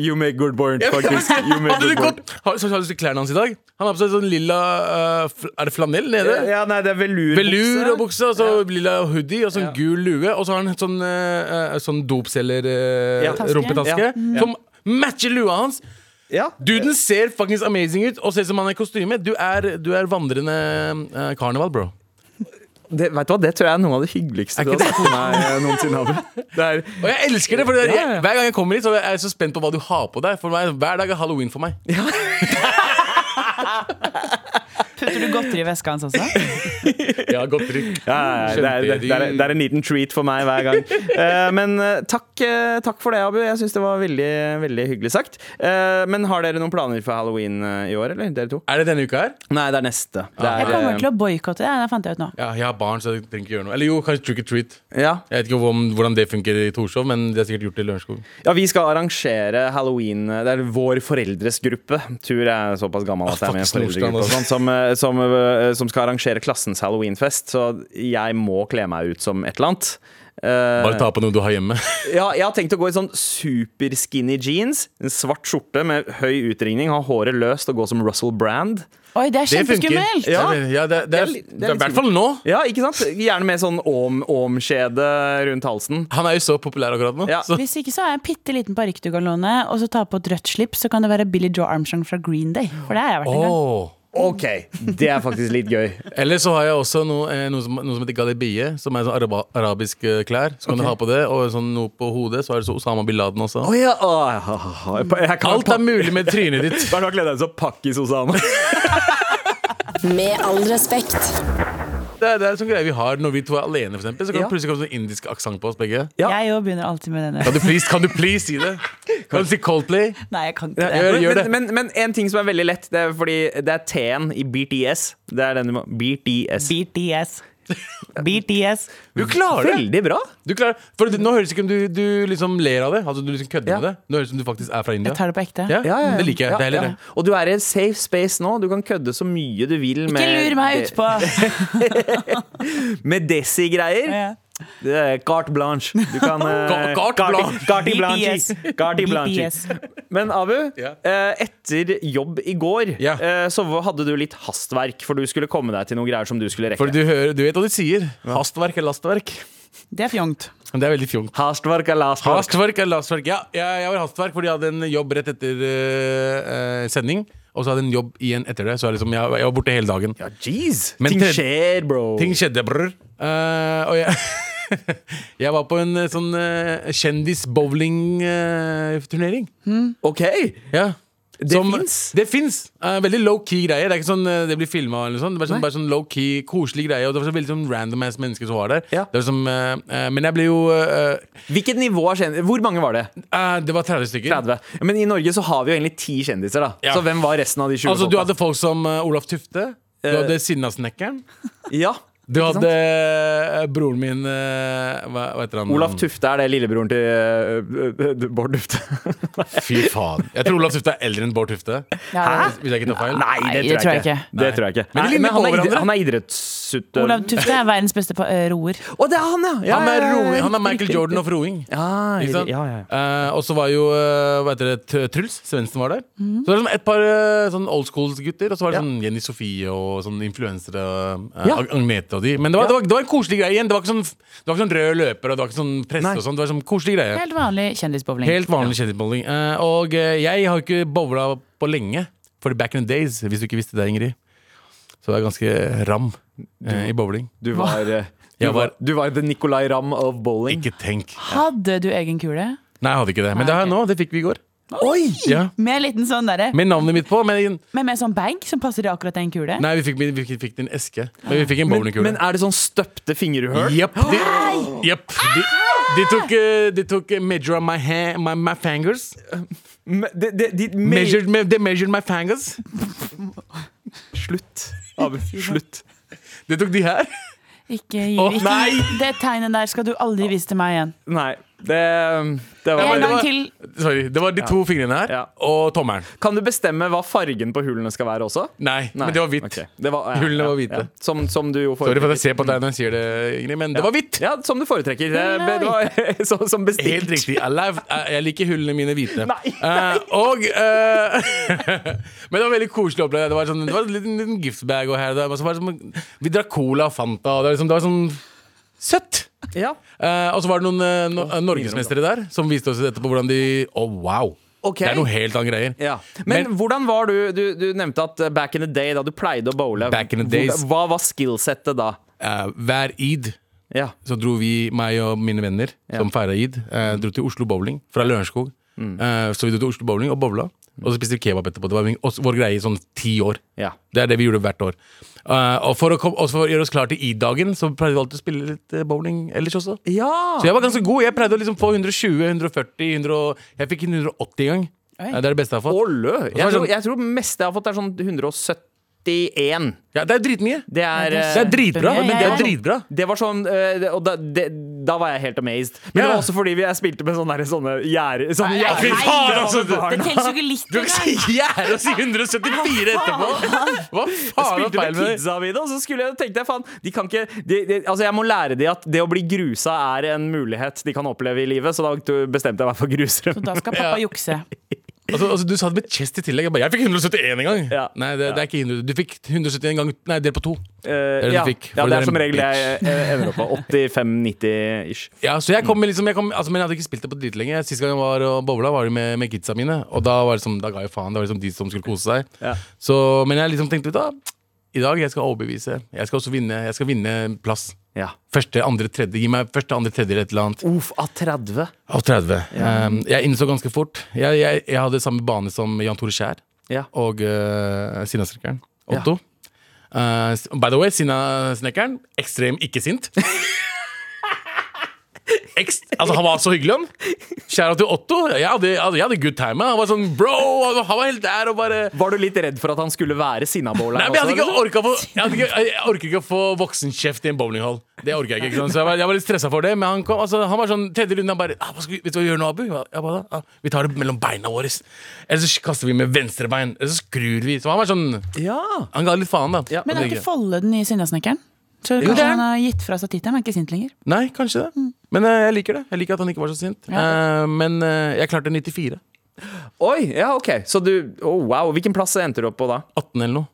B: You make good point, [laughs] faktisk.
C: Hadde du gått, har, så har du sett klærne hans i dag? Han har på seg sånn lilla eh, fl- Er det flanell nede?
B: Ja, nei, det er velur.
C: Velur og bukse, og så lilla hoodie og sånn gul lue. Og så har han et sånn, uh, sånn
B: Ja.
C: dopselger-rumpetaske
B: Ja.
C: Mm. som matcher lua hans.
B: Ja.
C: Duden ser fuckings amazing ut og ser ut som han er i kostyme. Du er, du er vandrende eh, karneval, bro.
B: Det, vet du hva, det tror jeg er noe av det hyggeligste
C: Er
B: du
C: ikke
B: har sett på meg eh, noensinne. Abu. Det er,
C: Og jeg elsker det, for det er,
B: Ja, ja, ja.
C: hver gang jeg kommer hit, så er jeg så spent på hva du har på deg. For meg, Hver dag er halloween for meg.
D: Putter du godteri i veska hans også?
C: Ja, godt trykk.
B: ja, ja, det, er, det, det, er, det er en liten treat for meg hver [laughs] gang. Eh, men eh, takk, eh, takk for det, Abu. Jeg syns det var veldig, veldig hyggelig sagt. Eh, men har dere noen planer for halloween eh, i år, eller? Dere to?
C: Er det denne uka her?
B: Nei, det er neste. Det
D: Jeg
B: er,
D: kommer
B: eh,
D: til å boikotte det, det fant jeg ut nå.
C: Ja, jeg har barn, så jeg trenger ikke gjøre noe. Eller jo, kanskje trick or treat.
B: ja.
C: Jeg vet ikke om, hvordan det funker i Torshov, men det er sikkert gjort i Lørenskog.
B: ja, vi skal arrangere halloween Det er vår foreldres gruppe. Tur jeg er såpass gammel at jeg er med i en
C: fuck, Snorstrand,
B: foreldregruppe og
C: altså.
B: sånn, som, eh, som, eh, som skal arrangere klassens halloweenfest. Så jeg må kle meg ut som et eller annet. Eh,
C: Bare ta på noe du har
B: [laughs]
C: hjemme.
B: Ja, jeg har tenkt å gå i sånn super skinny jeans, en svart skjorte med høy utringning, ha håret løst og gå som Russell Brand.
D: Oi, det er kjempeskummelt!
B: Ja.
C: ja det, det,
B: er
C: er,
B: litt- det er
C: det er i
B: litt
C: hvert fall nå.
B: Ja, ikke sant? Gjerne med sånn om- åmskjede rundt halsen.
C: Han er jo så populær akkurat nå.
B: Ja.
C: Så.
D: Hvis ikke så har jeg en bitte liten parykk du kan låne, og så ta på et rødt slips, så kan det være Billy Joe Armstrong fra Green Day. For det har jeg vært en gang.
C: Åh.
B: Ok, det er faktisk litt gøy.
C: Eller så har jeg også noe, eh, noe, som, noe som heter galibie, som er sånn araba, arabisk eh, klær. Så kan du ha på det, og sånn noe på hodet. Så er det så Osama bin Laden også.
B: Å ja, å, jeg, jeg kan
C: Alt er mulig med trynet ditt.
B: [laughs] Bare nå kledde jeg meg som pakkis hos Ana.
A: Med all respekt.
C: Det er, det er sånn greier vi har når vi to er alene, for eksempel. Så kan
B: Ja.
C: det plutselig komme sånn indisk aksent på oss begge.
B: Ja.
D: Jeg òg begynner alltid med denne.
C: Kan du please, kan du please si det? Kan du si Coldplay?
D: [laughs] Nei, jeg kan ikke
C: gjør-
D: det.
B: Men,
C: det.
B: men, men, men en ting som er veldig lett, det er fordi det er T-en i BTS. Det er den du må BTS.
D: BTS. BTS.
C: Du klarer det!
B: Veldig bra.
C: Du klarer, for det- nå høres det ikke ut som du, du liksom ler av det. Altså du liksom kødder
B: Ja.
C: med det Nå høres det ut som du faktisk er fra India.
D: Jeg tar det på ekte.
B: Ja,
C: Ja,
B: ja, ja.
C: Det liker jeg.
B: Ja,
C: det er heller
B: ja.
C: det.
B: Og du er i en safe space nå. Du kan kødde så mye du vil med
D: Ikke lur meg utpå!
B: Med Desi-greier.
D: Ja.
B: Det er Carte blanche. Du
C: [laughs]
B: kan eh,
C: Ga- carte
B: carte-
C: blanche.
B: Carte
D: BTS.
B: blanche. Carte blanche.
D: BTS.
B: Men Abu,
C: Ja.
B: eh, etter jobb i går
C: Ja.
B: eh, så hadde du litt hastverk, for du skulle komme deg til noen greier som du skulle rekke.
C: For du, hører, du vet hva du sier. Hastverk er lastverk.
D: Det er fjongt.
C: Men det er veldig fjongt.
B: Hastverk er lastverk.
C: Hastverk er lastverk. Ja, jeg, jeg var hastverk fordi jeg hadde en jobb rett etter eh, eh, sending. Og så hadde jeg en jobb igjen etter det. Så jeg, liksom, jeg, jeg var borte hele dagen.
B: Ja, jeez.
C: Men
B: Ting
C: tre-
B: skjer, bro.
C: Ting skjedde, brr. Eh, og jeg, [laughs] jeg var på en eh, sånn uh, kjendis-bowling-turnering.
B: OK.
C: Ja.
B: Det fins?
C: Det fins. Eh, veldig low-key greie. Det er ikke sånn eh, det blir filma. Sånn. Det var sånn, bare sånn low-key, koselig greie. Og det var så veldig sånn random ass mennesker som var der.
B: Ja.
C: Det var som, eh, eh, men jeg ble jo eh,
B: Hvilket nivå er kjendis? Hvor mange var det?
C: eh, Det var 30 stykker.
B: 30. Men i Norge så har vi jo egentlig ti kjendiser, da.
C: Ja.
B: Så hvem var resten av de 20
C: Altså, du
B: folka?
C: hadde folk som eh, Olaf Tufte. Du
B: Eh.
C: hadde Sinnasnekkeren.
B: Ja.
C: Du
B: Ikke sant?
C: hadde eh, broren min eh, hva, hva heter han?
B: Olaf Tufte er det lillebroren til øh, øh, Bård
C: [laughs]
B: Tufte.
C: Fy faen. Jeg tror Olaf Tufte er eldre enn Bård Tufte.
D: Ja,
C: Hvis jeg ikke tar feil.
B: Nei, det, tror jeg ikke. Det tror jeg ikke.
C: Men de
B: Nei,
C: ligner
B: han,
C: på
B: er idre,
C: hverandre.
B: han er
D: det-
B: idrettsutøver.
D: Olav Tufte er verdens beste pa- eh, roer.
B: Å, det er han, ja! ja
C: Han er,
B: ja, ja,
C: roing.
B: ja,
C: Han er
B: riktig,
C: Michael
B: riktig,
C: Jordan og
B: riktig.
C: roing.
B: Ja,
C: Ikke sant?
B: ja, ja, ja.
C: Eh, og så var jo eh, hva heter det, T- Truls Svendsen var der. Så det var liksom et par eh, sånn old school-gutter, og så var
B: Ja.
C: det sånn Jenny Sofie og sånn influensere. eh,
B: Ja.
C: Ag- Agnete og de. Men det var,
B: Ja.
C: det, var, det var en koselig greie igjen. Det var ikke sånn, det var ikke sånn rød løper og det var ikke sånn presse
B: Nei.
C: og sånn. Det var sånn koselig greie.
D: Helt vanlig kjendisbowling.
C: Helt vanlig kjendisbowling. Eh, og eh, jeg har ikke bowla på lenge. For back in the days, hvis du ikke visste det, Ingrid. Så jeg er ganske ram eh, i bowling.
B: Du var,
C: [laughs]
B: øh, du var,
C: Jeg var-
B: du var the Nicolay Ramm of bowling.
C: Ikke tenk.
D: Hadde du egen kule?
C: Nei, jeg hadde ikke det. Men
D: Nei,
C: det har jeg
D: ok.
C: nå. Det fikk vi i går.
B: Oi!
C: Ja.
D: Med en liten sånn derre.
C: Med navnet mitt på. Men en,
D: Men med sånn bag som passer i akkurat den kule.
C: nei, vi fikk, vi fikk, fikk en eske. Men vi fikk en
B: Men,
C: bowlingkule.
B: men er det sånn støpte fingerhull?
C: Jepp. De, jepp. De, de tok, eh, de tok eh, measure of my, hand, my, my fingers.
B: Me- De, de, de, me-
C: Measured, me- they measured my fingers.
B: Slutt. [laughs] Abel, slutt.
C: De tok de her.
D: Ikke, gi-
C: Å,
D: ikke,
C: nei!
D: det tegnet der skal du aldri vise til meg igjen.
B: Nei, det, det var
D: En
B: bare
D: gang til.
C: Sorry, Det var de to fingrene her
B: Ja.
C: og tommelen.
B: Kan du bestemme hva fargen på hullene skal være også?
C: Nei, men det var hvitt.
B: Ok, det var- ja,
C: Hullene
B: ja,
C: var hvite.
B: ja. Som, som du jo
C: Sorry for at
B: foretrekker.
C: jeg ser på deg når jeg sier det, Ingrid, men det var hvitt.
B: Ja, som du foretrekker. Det, det var, [laughs] så, som bestilt.
C: Helt riktig. Alive. Eh, Jeg liker hullene mine hvite.
B: Nei,
C: Eh, og eh, [laughs] Men det var veldig koselig å oppleve. Det var, sånn, det var en liten, liten giftbag og her og der. Og så var det som, vi drakk cola og Fanta. Og det, var liksom, det var sånn søtt.
B: Ja.
C: Eh, og så var det noen eh, no, eh, norgesmestere der som viste oss etterpå hvordan de Å, wow!
B: Ok.
C: Det er noe helt annet greier.
B: Ja. Men,
C: Men-
B: hvordan var du, du Du nevnte at eh, back in the day, da du pleide å bowle
C: Back in the days.
B: hvordan- Hva var skillsettet da?
C: Eh, hver id
B: Ja.
C: så dro vi, meg og mine venner som feira id, eh, dro til Oslo Bowling fra Lørenskog.
B: Mm.
C: Eh, så vi dro til Oslo Bowling og bowla, og så spiste vi kebab etterpå. Det var min- også vår greie i sånn ti år.
B: Ja.
C: Det er det vi gjorde hvert år. Eh, og for å, kom, også for å gjøre oss klar til id-dagen, så pleide vi alltid å spille litt eh, bowling ellers også.
B: ja.
C: Så jeg var ganske god. Jeg pleide å liksom få 120, 140, 100, jeg fikk en 180 gang.
D: Oi.
C: Eh, Det er det beste jeg har fått.
B: Ålø! Jeg,
C: var det
B: tror-
C: sånn-
B: jeg tror meste jeg har fått, er sånn 171.
C: Ja, det er dritmye.
B: Det er,
D: det er
B: eh,
C: Det er dritbra.
D: Ja, ja,
C: Men det
D: ja.
C: er dritbra.
B: Det var sånn eh, det- Og da, det, da var jeg helt amazed. Men
C: Ja.
B: det var også fordi vi- jeg spilte med sånne, der- sånne gjerder sånne
D: nei,
B: gjerder.
D: nei,
C: faen, altså, du-
D: Det teller jo ikke litt
C: [laughs] Du kan ikke
D: engang.
C: si gjerde og si 174 etterpå! Hva faen er
B: Spilte med
C: feil med deg?
B: kidsa mine, og så skulle jeg tenkte jeg faen de kan ikke, de, de, altså Jeg må lære de at det å bli grusa er en mulighet de kan oppleve i livet, så da bestemte jeg meg for grusere.
D: Så da skal pappa jukse.
C: Altså, altså, du sa det med chest i tillegg. Jeg, bare, jeg fikk 171 en gang.
B: Ja.
C: Nei, det, det er ikke 100. Du fikk 171 gang Nei, del på to.
B: Eh,
C: det
B: ja.
C: du fikk,
B: ja,
C: for
B: det
C: det er
B: er som
C: en
B: regel jeg eh, ender opp på 85-90-ish.
C: Ja, så jeg kom med liksom jeg kom, altså, Men jeg hadde ikke spilt det på dritlenge. Sist gang jeg var og bowla, var det med, med kidsa mine. Og da var det som, da ga jeg faen. Det var liksom de som skulle kose seg.
B: Ja.
C: Så, men jeg liksom tenkte da I dag jeg skal overbevise. Jeg skal også vinne. Jeg skal vinne plass.
B: Ja.
C: Første, andre, tredje. Gi meg første, andre, tredje eller et eller annet.
B: Uff, av 30.
C: Av 30. Um, jeg innså ganske fort. Jeg, jeg, jeg hadde samme bane som Jan Tore Skjær
B: Ja.
C: og uh, Sinnasnekkeren. Otto. Uh, s- by the way, Sinnasnekkeren ekstrem ikke sint. [laughs] Ekst, altså, han var så hyggelig, han. Kjære til Otto. Jeg hadde, jeg hadde- jeg hadde good time. Han var sånn bro! Han var- han var helt der og bare
B: Var du litt redd for at han skulle være sinnabowleren?
C: Nei, men jeg hadde
B: også,
C: ikke orka få, jeg, hadde ikke, jeg orker ikke å få voksenkjeft i en bowlinghall. Det orker jeg ikke. ikke sant? Så jeg var, jeg var litt stressa for det. Men han kom, altså, han var sånn tredje runde. Han bare ah, hva skal vi, 'Vet du hva vi gjør nå, Abu?' Jeg ba- jeg ba, ah, 'Vi tar det mellom beina våre.' Eller så kaster vi med venstrebein. Eller så skrur vi. Så han var sånn
B: eller? Ja.
C: Han ga litt faen, da.
D: Men er
C: Jeg
D: ikke
C: tenker,
D: Folle den nye Sinnasnekkeren? Så
C: Jo, det
D: kanskje
C: er
D: han har gitt fra seg tittelen, men er ikke sint lenger.
C: Nei, kanskje
D: Mm.
C: det. Men eh, jeg liker det. Jeg liker at han ikke var så sint. Eh, men eh, jeg klarte 94.
B: Oi, ja, OK. Så du oh, Wow. Hvilken plass endte du opp på da?
C: 18 eller noe.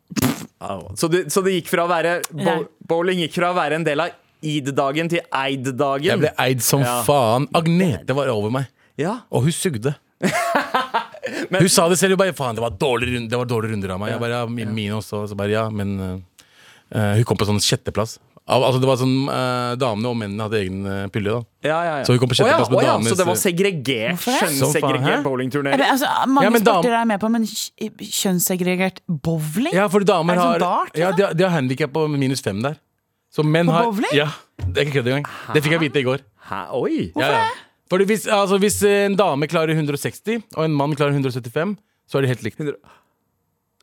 B: Så, du, så det gikk fra å være bow,
D: Nei.
B: Bowling gikk fra å være en del av id-dagen til
C: Jeg
B: eid-dagen.
C: ble eid som
B: Ja.
C: faen. Agnete var over meg.
B: Ja.
C: Og hun
D: [laughs]
C: sugde. hun sa det selv. Hun bare faen, det var dårlige runde, det var dårlige runder av meg. Jeg bare, ja, mi- mine også. Så bare, ja, men eh, hun kom på sånn sjetteplass. Al altså, det var sånn eh, Damene og mennene hadde egen eh, pille. da
B: Ja, ja, ja.
C: Så vi kom på
B: Å ja,
C: sjetteplass med
B: å ja,
C: damenes-
B: Så det var segregert,
D: Hvorfor
C: Så faen,
D: det?
C: hæ?
B: kjønnssegregert
D: Ja, men
B: bowlingturnering?
D: Altså, mange
C: Ja, men dam-
D: sporter er jeg med på, men kj- kjønnssegregert bowling?
C: Ja, fordi damer
D: Er det sånn
C: har
D: dart,
C: Ja, de, har- de har handikap på minus fem der. Så menn
D: På
C: har
D: bowling?
C: Ja, Det er ikke kødd engang. Det fikk jeg vite i går.
B: Hæ, oi.
C: Ja, ja. Fordi hvis, altså, hvis en dame klarer 160, og en mann klarer 175, så er de helt likt.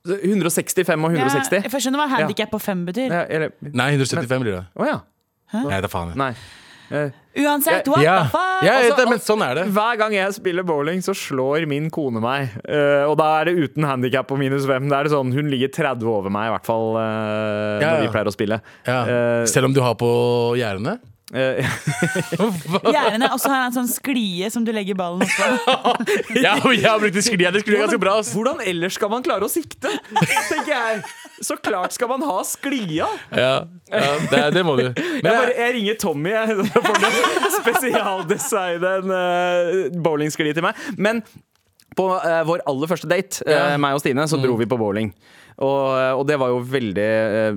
B: 165 og
D: Ja,
B: 160?
D: for jeg skjønner hva handikap på fem betyr.
B: Ja, eller Å
C: Nei, 175 blir det.
B: ja.
C: Nei, det er faen. jeg.
B: Nei.
D: Uansett, what
C: Ja,
D: the
C: ja
D: fuck?
C: jeg vet
B: Altså,
C: det, men sånn er det.
B: Hver gang jeg spiller bowling, så slår min kone meg. Eh, og da er det uten handikap og minus hvem. Da er det sånn, Hun ligger 30 over meg, i hvert fall eh,
C: Ja,
B: når
C: ja.
B: vi pleier å spille.
C: Ja.
B: Eh,
C: Selv om du har på
B: [laughs]
C: gjerdene?
B: eh,
D: Gjerdene, og så har han en sånn sklie som du legger ballen oppå.
C: ja, jeg har brukt det skliet. Det skliet er ganske bra. ass.
B: Hvordan ellers skal man klare å sikte? Tenker jeg. Så klart skal man ha sklia.
C: Ja, ja det, det må
B: [laughs]
C: du. Men eh,
B: Jeg, bare,
C: jeg,
B: jeg ringer Tommy jeg, [laughs] så eh, får han spesialdesignet en uh, bowlingskli til meg. Men på eh, vår aller første date, eh, meg og Stine, så dro
C: Mm.
B: vi på bowling. Og, og det var jo veldig eh,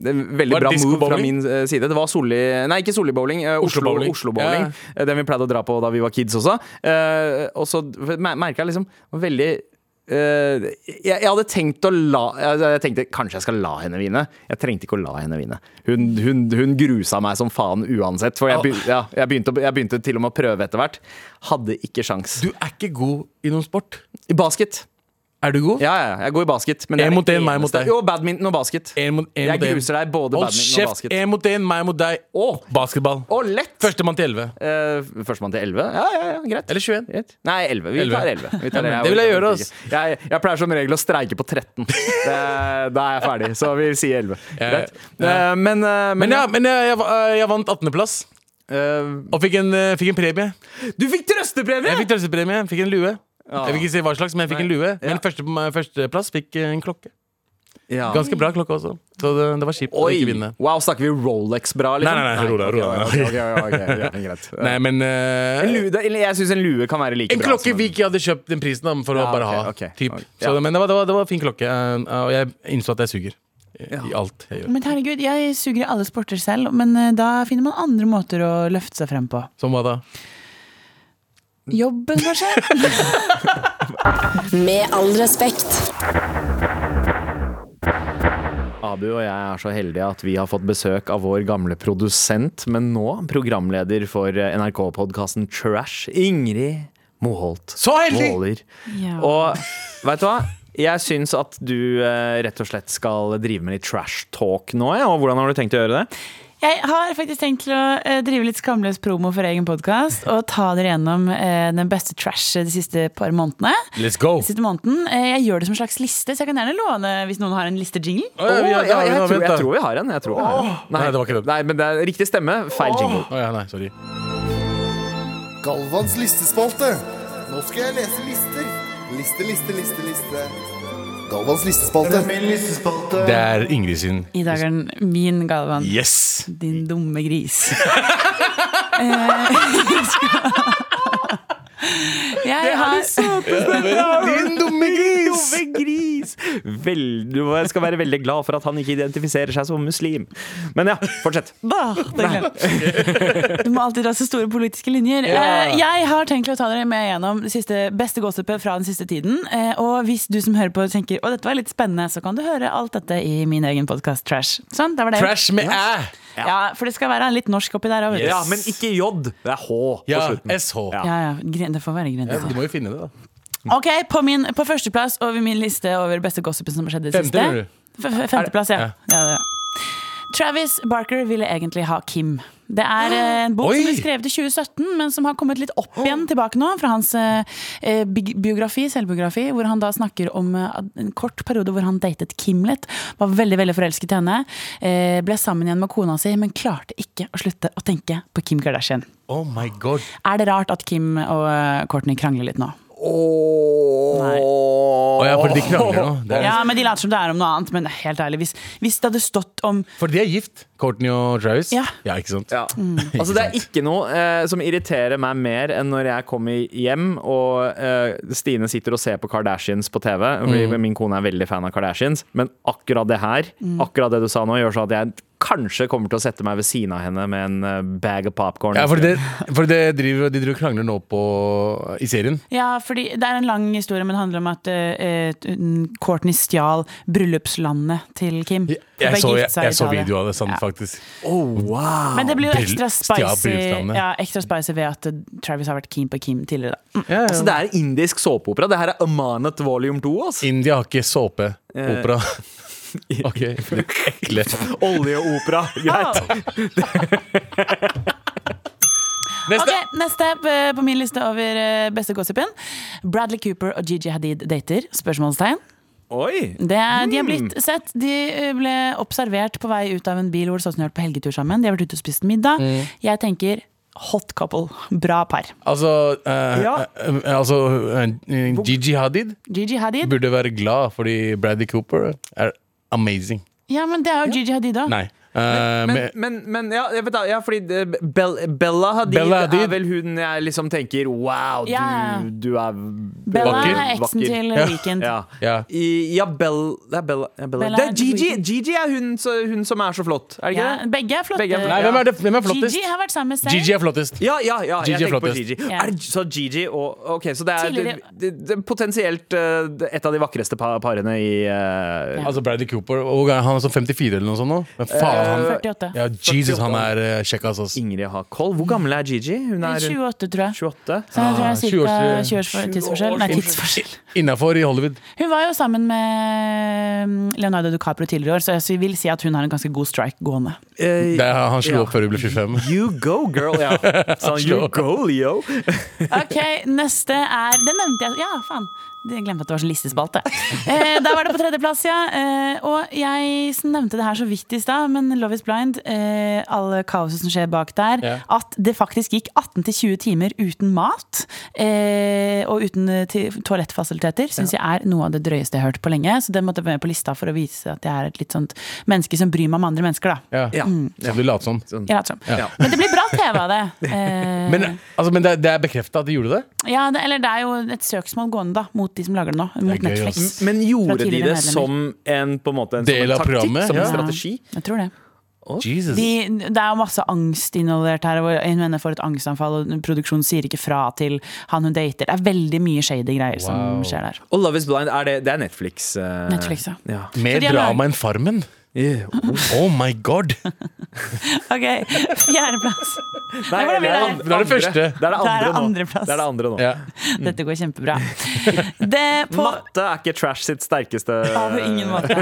B: det er en Veldig
C: Var det
B: bra move fra
C: disco-bowling?
B: min eh, side. Det var Solli Nei, ikke Solli bowling. eh, Oslo, Oslo
C: Oslo-bowling.
B: bowling.
C: Ja.
B: Eh, Den vi pleide å dra på da vi var kids også. Eh, og så merka jeg liksom det var veldig eh, jeg, jeg hadde tenkt å la Jeg, jeg tenkte kanskje jeg skal la henne vinne. Jeg trengte ikke å la henne vinne. Hun, hun, hun grusa meg som faen uansett. For jeg, begy- ja, jeg, begynte, å- jeg begynte til og med å prøve etter hvert. Hadde ikke sjans.
C: Du er ikke god i noen sport.
B: I basket.
C: Er du god?
B: Ja, ja, ja, jeg går i basket. Men det
C: En
B: er det
C: mot en, meg mot
B: eneste-
C: deg.
B: Jo, badminton og basket.
C: En mot, en
B: Jeg
C: mot en.
B: gruser deg både
C: Hold
B: badminton og
C: kjeft!
B: basket.
C: Én mot én, meg mot deg.
B: Å.
C: Basketball.
B: Og lett!
C: Førstemann til elleve.
B: Eh, Førstemann til 11? Ja, ja, ja, greit.
C: Eller 21.
B: Greit. Nei, 11. Vi
C: 11.
B: tar 11. Vi tar
C: Ja, men det vil jeg gjøre, ass.
B: Jeg, jeg pleier som regel å streike på 13. Det, da er jeg ferdig, så vi sier 11. Greit. Eh, Men, eh,
C: Men
B: men
C: ja, men jeg, jeg, va- jeg vant 18.-plass.
B: eh,
C: Og fikk en, eh, fikk en premie.
B: Du fikk trøstepremie!
C: Jeg fikk trøstepremie. Fikk en lue. Jeg vil ikke si hva slags, men jeg fikk en lue.
B: Ja.
C: Men første- førsteplass fikk eh, en klokke.
B: Ja.
C: Ganske bra klokke også. Så det, det var kjipt å
B: Oi!
C: ikke vinne.
B: Wow, snakker vi Rolex bra, liksom?
C: Nei, nei, nei, ro deg, ro deg.
B: ok, ok, ok, ok, ok, ok, greit.
C: Nei, men eh,
B: En lue, det- eller jeg syns en lue kan være like
C: en
B: bra.
C: klokke vi ikke hadde kjøpt den prisen da, for
B: Ja,
C: å bare
B: ok,
C: ha.
B: ok,
C: typ.
B: ok.
C: Så,
B: Ja.
C: men det var, det, var, det var en fin klokke, eh, og jeg innså at jeg suger i, i alt jeg gjør.
D: [laughs] Men herregud, jeg suger i alle sporter selv, men eh, da finner man andre måter å løfte seg frem på.
C: Som hva da?
D: Jobben, kanskje?
A: Med all respekt.
B: Abu og jeg er så heldige at vi har fått besøk av vår gamle produsent, men nå programleder for NRK-podkasten Trash, Ingrid Moholt.
C: Så heldig!
B: Våler.
D: Ja.
B: Og veit du hva? Jeg syns at du eh, rett og slett skal drive med litt trash talk nå. Ja. Og hvordan har du tenkt å gjøre det?
D: Jeg har faktisk tenkt til å eh, drive litt skamløs promo for egen podkast og ta dere gjennom eh, den beste trash de siste par månedene.
C: Let's go!
D: Siste måneden. Eh, Jeg gjør det som en slags liste, så jeg kan gjerne låne hvis noen har en listejingle.
C: Å, ja,
B: Å,
C: vi
B: ja,
C: har-
B: jeg,
C: vi har-
B: tror,
C: vent da.
B: jeg tror vi har en. Jeg tror vi har en.
C: Nei, det var ikke det.
B: Nei, men det er riktig stemme, feil jingle.
C: Å, ja, nei, sorry.
E: Galvans listespalte. Nå skal jeg lese lister. Liste, liste, liste, liste. Galvans listespalte.
C: Det er Ingrid sin.
D: I dag er den min, Galvan.
C: Yes!
D: Din dumme gris. [laughs] Eh, jeg har
C: Din dumme gris!
B: Dumme gris! Vel, du skal være veldig glad for at han ikke identifiserer seg som muslim. Men ja, fortsett.
D: Bah, det glemte jeg. Du må alltid dra så store politiske linjer. Eh, Jeg har tenkt å ta dere med gjennom det siste, beste gossipet fra den siste tiden. Eh, Og hvis du som hører på tenker å dette var litt spennende, så kan du høre alt dette i min egen podkast Trash. Sånn, der var det.
C: Trash med æ!
D: Ja, for det skal være litt norsk oppi der òg.
B: Ja, men ikke J. Det er H på
C: Ja,
B: slutten.
C: SH.
B: Ja.
D: Ja, ja, gren- det får være
C: Ja,
D: grenser.
C: Du må jo finne det, da.
D: Ok, på, min, på førsteplass over min liste over beste gossipen som har skjedd i det
C: Femte,
D: siste.
C: mener du?
D: F- f- Femteplass, ja. ja. det, ja. Travis Barker ville egentlig ha Kim. Det er eh, en bok
C: Oi!
D: som ble skrevet i 2017, men som har kommet litt opp igjen tilbake nå, fra hans eh, eh, bi- biografi, selvbiografi, hvor han da snakker om eh, at en kort periode hvor han datet Kim litt. Var veldig veldig forelsket i henne. Eh, ble sammen igjen med kona si, men klarte ikke å slutte å tenke på Kim Kardashian.
C: Oh my god.
D: Er det rart at Kim og eh, Kourtney krangler litt nå?
C: Å ja, for
D: [laughs]
C: de krangler nå. Det er,
D: Ja, men De later som det er om noe annet, men helt ærlig, hvis, hvis det hadde stått om
C: For de er gift, Courtney og Travis.
D: Ja.
C: ikke sant?
B: Ja. Altså, det er ikke noe eh, som irriterer meg mer enn når jeg kommer hjem og eh, Stine sitter og ser på Kardashians på TV. fordi Min kone er veldig fan av Kardashians, men akkurat det her, akkurat det du sa nå, gjør så at jeg kanskje kommer til å sette meg ved siden av henne med en eh, bag of popcorn.
C: Ja, for det,
B: [laughs]
C: for det driver, de driver og krangler nå på, i serien.
D: Ja, fordi det er en lang historie, men det handler om at eh, eh, Kourtney stjal bryllupslandet til Kim.
C: Jeg,
D: Hun ble
C: jeg, så,
D: gift
C: jeg,
D: seg i
C: jeg så
D: Italia.
C: video av det, sånn
D: Ja.
C: faktisk.
B: Oh,
D: Men det blir jo
C: Bryll-
D: ekstra
C: stjal
D: spicy,
C: bryllupslandet.
D: ja, ekstra spicy ved at eh, Travis har vært keen på Kim tidligere. Da. Mm.
B: Altså, det er indisk såpeopera. Det her er Amanet volume 2. Altså.
C: India har ikke
D: Eh.
C: såpeopera. ok, ekle.
B: [laughs] Oljeopera. Greit.
C: Neste!
D: Ok, Neste eh, på min liste over eh, beste gossipen. Bradley Cooper og Gigi Hadid dater? Spørsmålstegn.
B: Oi!
D: Det er,
C: Mm.
D: De har blitt sett. De eh, ble observert på vei ut av en bil hvor det så ut som de har vært på helgetur sammen. De har vært ute og spist middag.
C: Mm.
D: Jeg tenker hot couple. Bra par.
C: Altså, eh,
B: Ja.
C: eh, altså eh, Gigi Hadid
D: Gigi Hadid.
C: burde være glad fordi Bradley Cooper er amazing.
D: Ja, men det er jo Gigi Hadid òg.
C: Nei. Eh,
B: Men,
C: med-
B: men, men ja, jeg vet da, ja, fordi det- Bell, Bella Hadid
C: Bella Hadid.
B: er vel hun jeg liksom tenker Wow, du,
D: Ja.
B: du er du
D: Bella
C: Vakker.
D: er eksen til
C: Ja.
D: Weekend.
B: Ja,
C: Ja.
B: I, ja Bell, det er Bella, ja, Bella.
D: Bella
B: Det er
D: er
B: Gigi!
D: Weeknd.
B: Gigi er hun, så- hun som er så flott, er det ikke
D: Ja,
B: det?
D: Begge er flotte.
B: Begge er flotte.
C: Nei, hvem er, det, hvem er flottest?
D: Gigi har vært sammen med Zayn.
C: Gigi er flottest.
B: Ja, ja, ja, jeg
C: Gigi er
B: tenker på
C: flottest.
B: Gigi.
D: Ja.
B: Er det, så Gigi og OK, så det er det,
D: Tidligere-
B: det, det, er potensielt eh, et av de vakreste pa- parene i eh,
C: Altså Bradley Cooper. Hvor gammel er han? Sånn 54 eller noe sånt nå? Men faen,
D: Eh,
C: han
D: 48.
C: Ja, Jesus, han er eh, kjekk, altså. ass.
B: Ingrid Hakoll. Hvor gammel er Gigi? Hun er rundt
D: 28, tror jeg.
B: 28.
D: Så jeg
C: Ah,
D: tror jeg
C: 20 års-
D: er ca. 20 års tidsforskjell. Nei, tidsforskjell.
C: Innafor i Hollywood.
D: Hun var jo sammen med mm, Leonardo DiCaprio tidligere i år, så jeg vil si at hun har en ganske god strike gående.
B: Eh,
C: Det er, han slo
B: Ja.
C: opp før hun ble 25.
B: You go, girl.
C: [laughs]
B: Ja. Sånn, you go, Leo.
D: Ok, neste er Det nevnte jeg. Ja, faen. Jeg glemte at det var sånn listespalte. Eh, der var det på tredjeplass, ja. Eh, og jeg nevnte det her så vidt i stad, men Love is blind, eh, alle kaoset som skjer bak der,
C: Ja.
D: at det faktisk gikk 18-20 timer uten mat eh, og uten eh, ti- toalettfasiliteter, syns jeg er noe av det drøyeste jeg har hørt på lenge. Så det måtte jeg med på lista for å vise at jeg er et litt sånt menneske som bryr meg om andre mennesker, da.
C: Ja.
B: Ja.
D: Mm.
C: Så du later som.
B: Sånn.
D: Jeg later som.
B: Ja.
D: Men det blir bra TV av det.
C: [laughs]
D: Eh,
C: Men, altså, men det, er- det er bekrefta at de gjorde det?
D: Ja, det, eller det er jo et søksmål gående da mot de som lager det nå. Mot
C: gøy,
D: Netflix.
B: Men
D: Fra
B: gjorde de
D: tidligere
B: det
D: medlemmer.
B: som en, på en, måte, en, som
C: Del
B: en
C: av
B: taktikk?
C: programmet,
B: Som
C: ja.
B: en strategi?
D: Jeg tror det.
C: Jesus.
D: De, det er jo masse angst involvert her. Og en venn får et angstanfall, og produksjonen sier ikke fra til han hun dater. Det er veldig mye shady greier
C: Wow.
D: som skjer der.
B: Og Love is blind, er det, det er Netflix? eh,
D: Netflix, ja.
B: ja.
C: Mer
D: Så de har
C: drama enn Farmen.
B: Yeah.
C: Oh my god!
D: Ok, [laughs] Fjerdeplass.
B: Nei,
D: hvordan blir det?
B: an-
C: Det er det første.
B: Det er det
D: Det er
B: andre nå.
D: andreplass.
B: Det er det andre nå.
C: Ja.
D: Dette går kjempebra. Det på
B: Matte er ikke trash sitt sterkeste
D: Ja,
C: Eh.
D: på ingen måte.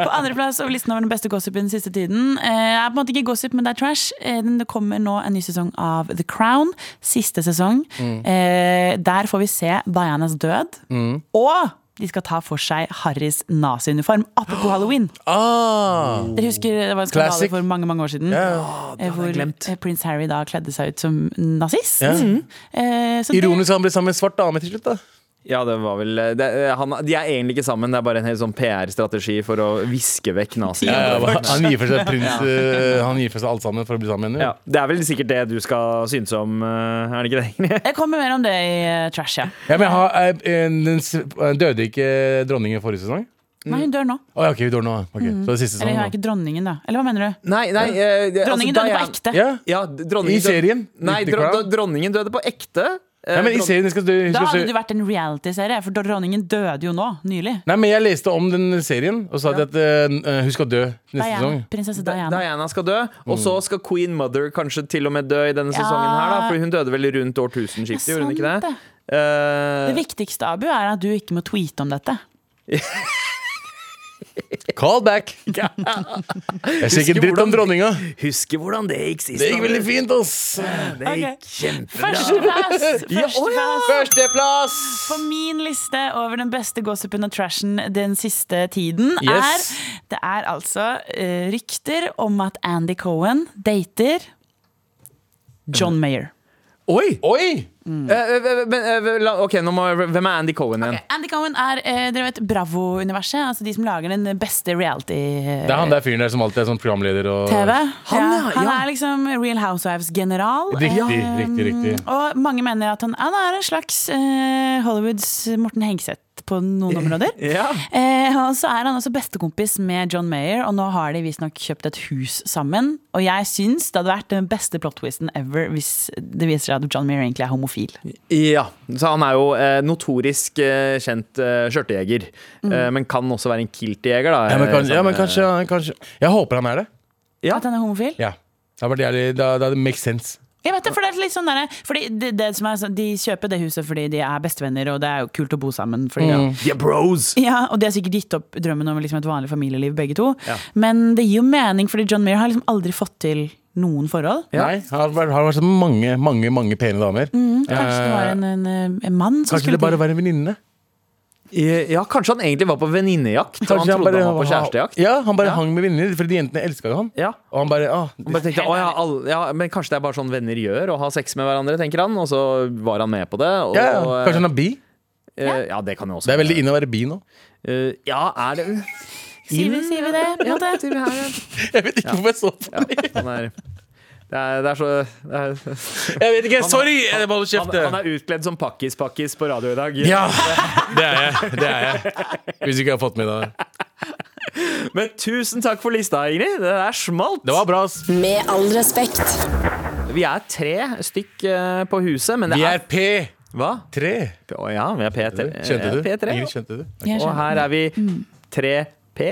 D: På andreplass over listen over den beste gossipen den siste tiden. Eh, er på en måte ikke gossip, men det er trash. Eh, men det kommer nå en ny sesong av The Crown. Siste sesong.
C: Mm.
D: Eh, der får vi se Dianas død. Og de skal ta for seg Harrys naziuniform. Apropos halloween.
C: [gasps] Ah.
D: Dere husker det var en skandale
C: Classic.
D: for mange mange år siden? eh, hvor
B: glemt.
D: eh, prins Harry da kledde seg ut som nazist.
C: Ja.
D: Eh, så det-
C: Ironisk at han ble sammen med en svart dame til slutt, da.
B: Ja, det var vel det, han, De er egentlig ikke sammen, det er bare en helt sånn PR-strategi for å viske vekk nazier.
C: Ja, ja, [laughs] han gir for seg prins eh, Han gir for seg alt sammen for å bli sammen med henne.
B: Ja, det er vel sikkert det du skal synes om, eh, er det ikke det?
D: Jeg kommer mer om det i eh, Trash, ja.
C: Ja, men jeg har, eh, en- den s- døde ikke dronningen forrige sesong?
D: Nei, hun dør nå.
C: Å ja, ok, vi dør nå. Ok, Så det er siste sesong. Mm.
D: Mm. Eller hun
C: Sånn, da.
D: er ikke dronningen, da. Eller hva mener du?
B: Nei, nei eh, det-
D: Dronningen
B: altså,
D: døde på
B: Diane-
D: ekte.
C: Ja.
B: Ja, dronningen
C: I serien?
B: Døde, nei,
C: The
B: dro,
C: Crown?
B: dronningen døde på ekte. Eh,
C: Ja, men i
B: dron-
C: serien skal du skal
D: Da hadde
C: du-
D: det vært en reality-serie, for dronningen døde jo nå, nylig.
C: Nei, men jeg leste om den serien, og sa de at eh, hun skal dø neste
D: Diana,
C: sesong.
D: prinsesse
B: Da-
D: Diana.
B: Diana skal dø, og
C: Mm.
B: så skal Queen Mother kanskje til og med dø i denne
D: Ja.
B: sesongen her, da, for hun døde vel rundt årtusenskiftet,
D: Det er
B: gjorde hun ikke
D: sant,
B: det?
D: Det
B: Eh,
D: viktigste, Abu, er at du ikke må tweete om dette.
C: Call back! [laughs] Jeg sier ikke
B: Husker
C: dritt om
B: hvordan-
C: dronninga.
B: husker hvordan det gikk sist.
C: Det gikk
B: da.
C: veldig fint, ass.
B: Det gikk kjempebra.
D: Førsteplass!
C: [laughs]
D: Førsteplass
C: Førsteplass!
D: på min liste over den beste gossipen og trashen den siste tiden er
C: Yes.
D: Det er altså eh, rykter om at Andy Cohen dater John Mayer.
B: Oi!
C: Oi!
B: Eh, eh, men, eh, la- ok, nå må, jeg- Hvem er Andy Cohen igjen?
D: Andy Cohen er eh, dere vet, Bravo-universet, altså de som lager den beste reality
C: Det er han der fyren der som alltid er sånn programleder og
D: TV.
B: Han, ja,
D: han
B: ja.
D: er liksom Real Housewives-general.
C: Riktig,
D: Eh,
C: riktig, riktig.
D: Og mange mener at han, han er en slags eh, Hollywoods Morten Hengseth på noen områder.
B: Ja.
D: Eh, og så er han også bestekompis med John Mayer, og nå har de visstnok kjøpt et hus sammen. Og jeg syns det hadde vært den beste plot-twisten ever hvis det viser seg at John Mayer egentlig er homofil.
B: Ja, så han er jo eh, notorisk eh, kjent eh, skjørtejeger, eh, men kan også være en kiltjeger, da.
C: Ja, men,
B: eh,
C: kanskje, ja,
B: sammen med-
C: men kanskje, kanskje Jeg håper han er det.
B: Ja.
D: At han er homofil?
C: Ja. Da hadde det, det, det makes sense.
D: Jeg vet det, for det er litt sånn derre- fordi det, det som er, sånn- De kjøper det huset fordi de er bestevenner, og det er jo kult å bo sammen. Fordi ja,
B: De er bros!
D: Ja, og de har sikkert gitt opp drømmen om liksom et vanlig familieliv, begge to. Men det gir jo mening, fordi John Mayer har liksom aldri fått til noen forhold.
C: Nei, han har vært- har vært så mange, mange mange pene damer.
D: Mhm. Kanskje det var en, en, en mann som
C: Kanskje
D: skulle
C: det bare var en venninne?
B: Eh, Ja, kanskje han egentlig var på venninnejakt, og han
C: Kanskje
B: trodde han, var på kjærestejakt.
C: Ja, han bare hang med venninner, fordi de jentene elska jo han.
B: Ja.
C: Og han bare ah,
B: Han bare tenkte, «Å, ja, all, ja, men Kanskje det er bare sånn venner gjør, å ha sex med hverandre, tenker han. Og så var han med på det. Og,
C: ja, ja. Kanskje han er bi?
B: eh, ja, det kan jo også
C: [laughs] Det er veldig inn å være bi nå.
B: Eh, Ja, er det
D: Sier vi, sier vi det? på en måte?
B: sier vi her, ja.
C: Jeg vet ikke hvorfor jeg så på det.
B: Han er, det, er, det er så det er,
C: Jeg vet ikke, Sorry! Jeg må holde
B: han,
C: kjeft.
B: han er utkledd som pakkis-pakkis på radio i dag.
C: Ja! [laughs] Det er jeg. det er jeg Hvis ikke jeg har fått med det.
B: Men tusen takk for lista, Ingrid. Det er smalt.
C: Det var bra. ass
A: Med all respekt.
B: Vi er tre stykk eh, på huset, men det
C: Vi er
B: er
C: P3.
B: Hva? Å ja, vi er P3.
C: Skjønte du?
B: Ja, P3.
C: Ingrid, skjønte du?
D: Jeg
B: Og
D: skjønner.
B: her er vi tre P.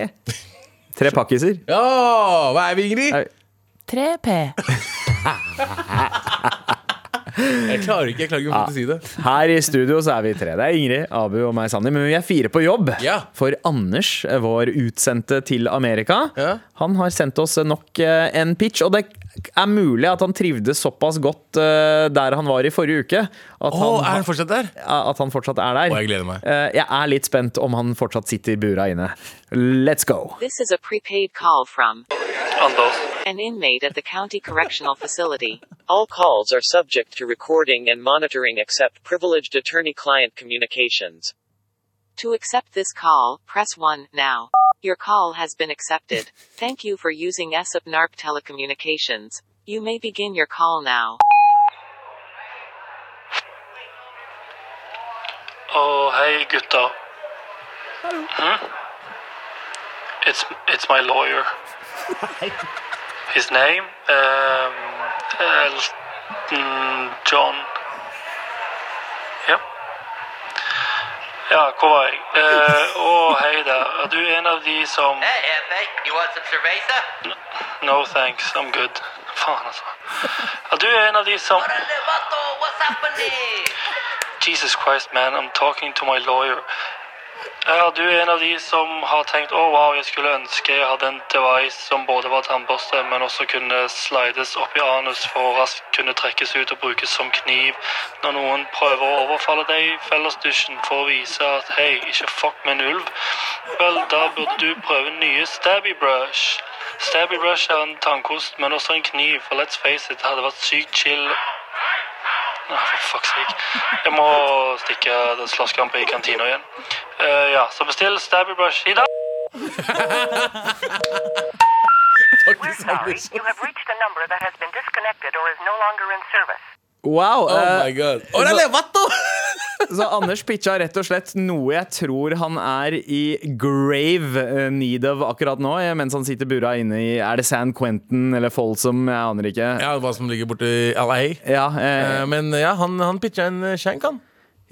B: Tre pakkiser.
C: Ja! Hva er vi, Ingrid?
B: Er-
D: 3P.
C: Jeg klarer ikke jeg klarer ikke å få til å si det.
B: Her i studio så er vi tre. Det er Ingrid, Abu og meg, Sanni. Men vi er fire på jobb.
C: Ja.
B: For Anders, eh, vår utsendte til Amerika,
C: Ja.
B: han har sendt oss nok eh, en pitch. Og det er mulig at han trivdes såpass godt eh, der han var i forrige uke, at,
C: Å,
B: han,
C: er han fortsatt der?
B: eh, at han fortsatt er der.
C: Å, jeg gleder meg.
B: Eh, Jeg er litt spent om han fortsatt sitter i bura inne. Let's go!
F: This is a prepaid call from
G: Anders.
F: an inmate at the county correctional facility.
G: All calls are subject to recording and monitoring except privileged attorney-client communications.
F: To accept this call, press 1 now. Your call has been accepted. Thank you for using ESOP NARP Telecommunications. You may begin your call now.
G: Å, hei gutter. Oh, Hmm? It's, it's my lawyer. His name? Um, Elton John. Ja. Ja, hvor var jeg? Eh, Å, hei der. Er du en av de som
H: Hey, Hefe, you want some cerveza?
G: No thanks, I'm good. Faen, altså. Er du en av de som
H: Órale, vato, what's happening?
G: Jesus Christ, man, I'm talking to my lawyer. Er du en av de som har tenkt å wow, jeg skulle ønske jeg hadde en device som både var tannbørste, men også kunne slides opp i anus for å raskt kunne trekkes ut og brukes som kniv når noen prøver å overfalle deg i fellesdusjen for å vise at hei, ikke fuck med en ulv? Vel, da burde du prøve nye Stabby Brush. Stabby Brush er en tannkost, men også en kniv, for let's face it, det hadde vært sykt chill Nei, for fuck's sake. Jeg må stikke slåsskamp i kantina igjen. Eh, ja, så bestill Stabby Brush i dag.
I: Sorry, you have reached a number that has been disconnected or is no longer in service.
B: Wow!
C: Oh
B: eh,
C: my god. Orale, vato!
B: [laughs] Så Anders pitcha rett og slett noe jeg tror han er i grave eh, need of akkurat nå, eh, mens han sitter bura inne i Er det San Quentin eller Folsom? Jeg aner ikke.
C: Ja, hva som ligger borte i LA.
B: Ja, eh,
C: Eh, Men ja, han, han pitcha en eh, skjenk, han.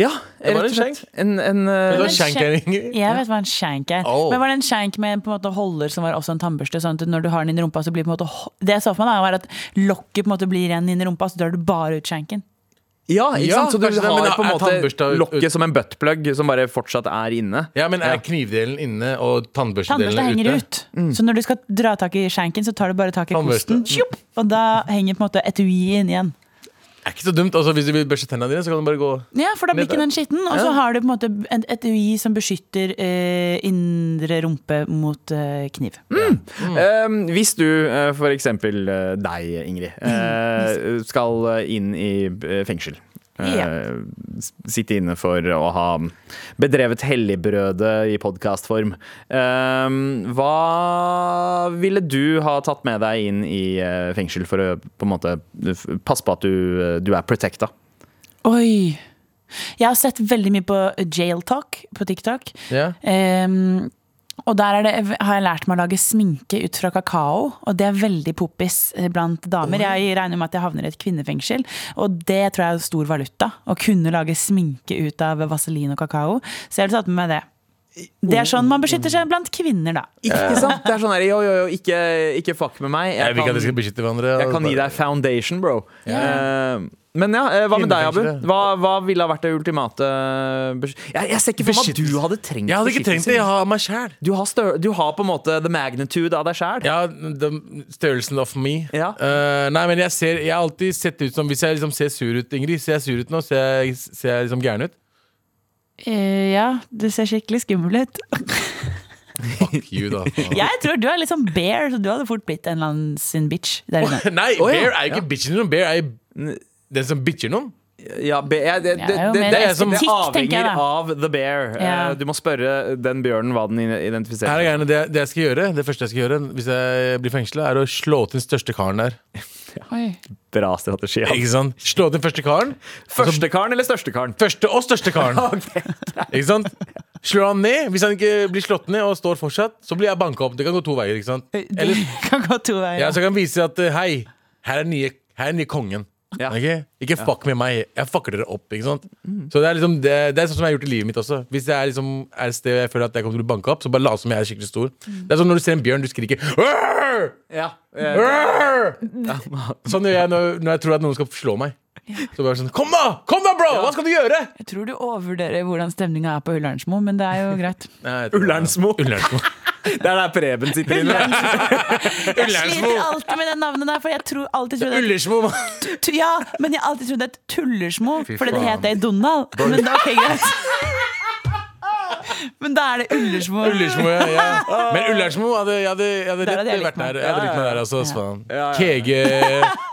B: ja rett
C: var en
B: og slett. En, en,
C: [laughs] Det var
B: eh,
D: en
C: skjenk her, Ingrid.
D: Jeg vet hva en shank er.
C: Oh.
D: Men var det en shank med på en måte holder som var også en tannbørste? Sånn at når du har den inn i rumpa, så blir på en måte ho- Det jeg så for meg, da, var at lokket på en måte blir igjen inn i rumpa, så drar du bare ut shanken.
B: ja, ikke
C: Ja,
B: sant? Så du
C: kanskje det, men
B: har
C: da
B: på en
C: er
B: måte
C: tannbørsta ut- ut-
B: lokket som en buttplug som bare fortsatt er inne.
C: Ja, men er knivdelen inne og
D: Tannbørsta
C: tannbørstedelen
D: henger
C: ute? Mm.
D: ut. Så når du skal dra tak i shanken, så tar du bare tak i
C: Tannbørste. Mm.
D: kosten, tjopp, og da henger på en måte etuiet inn igjen.
C: Er ikke så dumt. Altså, hvis du vil børste tennene dine, så kan du bare gå
D: Ja, for da blir
C: Nede.
D: ikke den skitten. Og
C: Ja.
D: så har du på en måte en etui som beskytter eh, indre rumpe mot eh, kniv.
C: Mm.
B: Eh, hvis du, eh, for eksempel eh, deg, [laughs] Ingrid, eh, skal eh, inn i eh, fengsel. eh, s- Sitte inne for å ha bedrevet helligbrødet i podkastform. hva ville du ha tatt med deg inn i eh, fengsel for å på en måte f- passe på at du, eh, du er protecta?
D: Oi! Jeg har sett veldig mye på Jail Talk på TikTok.
C: Ja.
D: Ehm, og der er det, har jeg lært meg å lage sminke ut fra kakao, og det er veldig poppis eh, blant damer. Jeg regner med at jeg havner i et kvinnefengsel, og det tror jeg er stor valuta. Å kunne lage sminke ut av vaselin og kakao. Så jeg ville tatt med meg det. Det er sånn man beskytter seg blant kvinner, da.
B: Ikke sant? Det er sånn her, jo, jo, jo, ikke, ikke fuck med meg.
C: Jeg vil ikke at de skal beskytte hverandre.
B: Jeg
C: og
B: kan gi
C: bare-
B: deg foundation, bro. Eh, men ja, eh, hva med deg, Abu?
C: Kvinnefengselet.
B: Hva, hva ville ha vært det ultimate besky... jeg, jeg ser ikke for meg at du hadde trengt
C: Jeg hadde ikke trengt det. Jeg har meg sjæl.
B: Du har, stør du har på en måte the magnitude av deg sjæl.
C: Ja, de, størrelsen of me.
B: Ja.
C: Eh, nei, men jeg ser Jeg har alltid sett ut som Hvis jeg liksom ser sur ut, Ingrid, ser jeg sur ut nå? Ser jeg, ser jeg liksom gæren ut?
D: Eh, ja, du ser skikkelig skummel ut.
C: Fuck you,
B: [laughs]
C: da.
D: [laughs] Jeg tror du er litt sånn bear, så du hadde fort blitt en eller annen sin bitch. Der inne.
C: [laughs] Nei,
B: Å, ja.
C: bear er jo ikke bitchen noen. Bear er jo den som bitcher noen.
B: Ja, be, ja, det, det,
D: Jeg
B: det,
D: er jo
B: det,
D: mer
B: det, er som- det
D: estetikk, tenker
B: avhenger
D: jeg, da.
B: av the bear.
D: Ja.
B: Eh, Du må spørre den bjørnen hva den
C: Her
B: identifiserer.
C: er greiene. det, det jeg skal gjøre, det første jeg skal gjøre hvis jeg blir fengsla, er å slå til den største karen der.
D: Oi.
B: Bra strategi. Ja.
C: Ikke sant? Slå til den første karen.
B: Første karen eller største karen?
C: Første og største karen. Ikke sant? Slår han ned. Hvis han ikke blir slått ned og står fortsatt, så blir jeg banka opp. Det kan gå to veier. ikke sant?
D: Det kan gå to veier.
C: Ja, så jeg kan vise at eh, hei, her er nye, her er nye kongen.
B: Ja.
C: Ok? Ikke fuck med meg. Jeg fucker dere opp. ikke sant? Så Det er liksom, det, det er sånn som jeg har gjort i livet mitt også. Hvis jeg er, liksom, er et sted jeg føler at jeg kommer til å bli banka opp, så bare late som jeg er skikkelig stor. Det er sånn Når du ser en bjørn, du skriker «Arr!
B: Ja, eh,
C: Arr!» Sånn gjør jeg når, når jeg tror at noen skal slå meg. Så bare sånn Kom da! Kom da, bro! Hva skal du gjøre?
J: Jeg tror du overvurderer hvordan stemninga er på Ullernsmo, men det er jo greit.
C: Nei, jeg tror-
B: Ullernsmo.
C: Ullernsmo.
B: [laughs] Det er der Preben sitter inne.
D: Jeg sliter alltid med det navnet der, for jeg tror alltid trodde at-
C: Ullersmo. mann.
D: tu- Ja, men jeg alltid trodde at Tullersmo,
C: Fy
D: fordi det
C: faen.
D: het det i Donald. Men da ok, greit. Men da er det Ullersmo.
C: [laughs] Ullersmo, ja, ja. Men Ullersmo hadde, jeg hadde, jeg hadde
D: Der
C: rett
D: hadde jeg likt
C: vært
D: meg.
C: der. Jeg hadde likt meg der, altså. faen. Kege,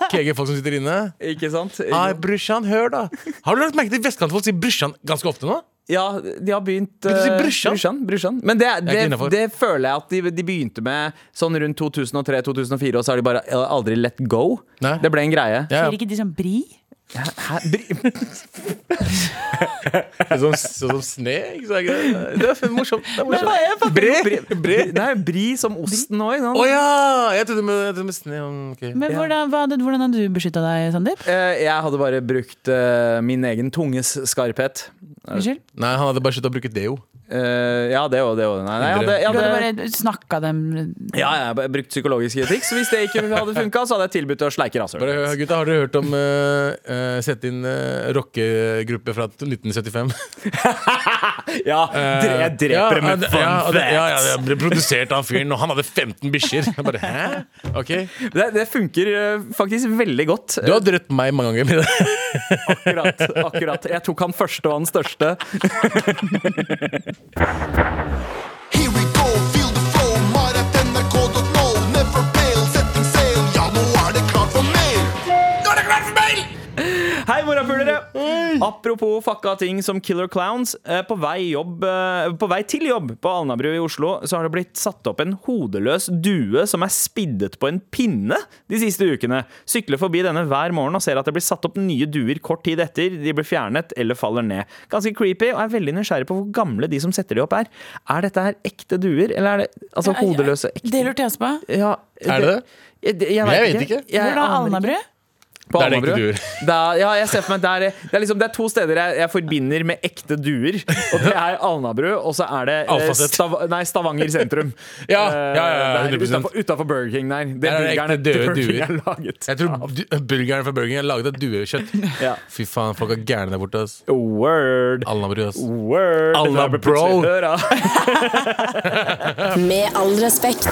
C: kege folk som sitter inne.
B: Ikke sant?
C: Hei, brorsan, hør, da. Har du lagt merke til vestkantfolk sier brorsan ganske ofte nå?
B: Ja, de har begynt
C: du si
B: eh,
C: brysjan?
B: brysjan, brysjan. Men det,
C: er ikke
B: det,
C: innenfor.
B: det føler jeg at de, de begynte med sånn rundt 2003-2004, og så har de bare aldri let go.
C: Nei.
B: Det ble en greie.
C: Ja,
D: Sier ikke de som Bri?
B: Hæ? Bry-
C: Sånn, sånn sne, ikke sant? Det er morsomt. Det er morsomt.
B: Bri, bri, bri, nei, bri som osten nå, ikke sant?
C: Å ja! Jeg trodde med, jeg trodde med sne. ok.
D: Men hvordan, hva, hadde- hvordan hadde du beskytta deg, Sandeep?
B: Eh, Jeg hadde bare brukt eh, min egen tunges skarphet.
J: Unnskyld?
C: Nei, han hadde bare sluttet å bruke deo.
B: Eh, ja, det òg, det òg. Nei, nei, jeg hadde, jeg
J: Du hadde
B: hadde,
J: bare snakka dem
B: ja, jeg hadde brukt psykologisk kritikk, så hvis det ikke hadde funka, så hadde jeg tilbudt å sleike
C: Bare,
B: rasshølet.
C: gutta, har dere hørt om eh, eh, Sette inn uh, rockegruppe fra 1975?
B: Ja, dre, jeg dreper
C: ja,
B: med
C: det-
B: fun
C: ja, og det-
B: facts.
C: Ja, ja, det ble produsert av fyren, og han hadde 15 bikkjer. Jeg bare, hæ? Ok.
B: Det, det funker eh, faktisk veldig godt.
C: Du har drøtt meg mange ganger med det.
B: Akkurat. akkurat Jeg tok han første og han største. [laughs]
E: Here we go, feel the flow. Maratnrk.no. Never fail, setting sail. Ja, nå er det klart for mail!
B: Hei, morapulere! Apropos fucka ting som Killer Clowns. eh, På vei, jobb, eh, på vei til jobb på Alnabru i Oslo så har det blitt satt opp en hodeløs due som er spiddet på en pinne de siste ukene. Sykler forbi denne hver morgen og ser at det blir satt opp nye duer kort tid etter. De blir fjernet eller faller ned. Ganske creepy, og jeg er veldig nysgjerrig på hvor gamle de som setter de opp, er. Er dette her ekte duer, eller er det altså hodeløse ekte
D: Det lurte jeg også på.
B: Ja,
C: Er det det?
B: Jeg, jeg, jeg,
C: vet
B: vet
C: ikke.
B: ikke. Jeg
D: Hvordan er
B: aner ikke.
D: Alnabru?
B: På
C: Der er det ekte
B: Alnabru.
C: duer.
B: Da, ja, jeg ser for meg der, det, er liksom, det er to steder jeg, jeg forbinder med ekte duer. Og det er Alnabru, og så er det eh,
C: Alfaset.
B: Stav, nei, Stavanger sentrum.
C: [laughs]
B: Eh,
C: Ja, ja, ja, ja, 100%.
B: Utafor Burger King der. [laughs] Det
C: Der er det
B: burgerne
C: ekte
B: til
C: døde
B: Burger King
C: duer.
B: er laget.
C: Jeg tror du- burgeren fra Burger King er laget av duekjøtt.
B: Ja.
C: Fy faen, folk er gærne der borte. ass
B: Oh, Word. Oh,
C: Alnabru, ass.
B: Word.
C: Alla
B: Det var
C: bro.
B: plutselig høra.
C: [laughs]
A: Med all respekt.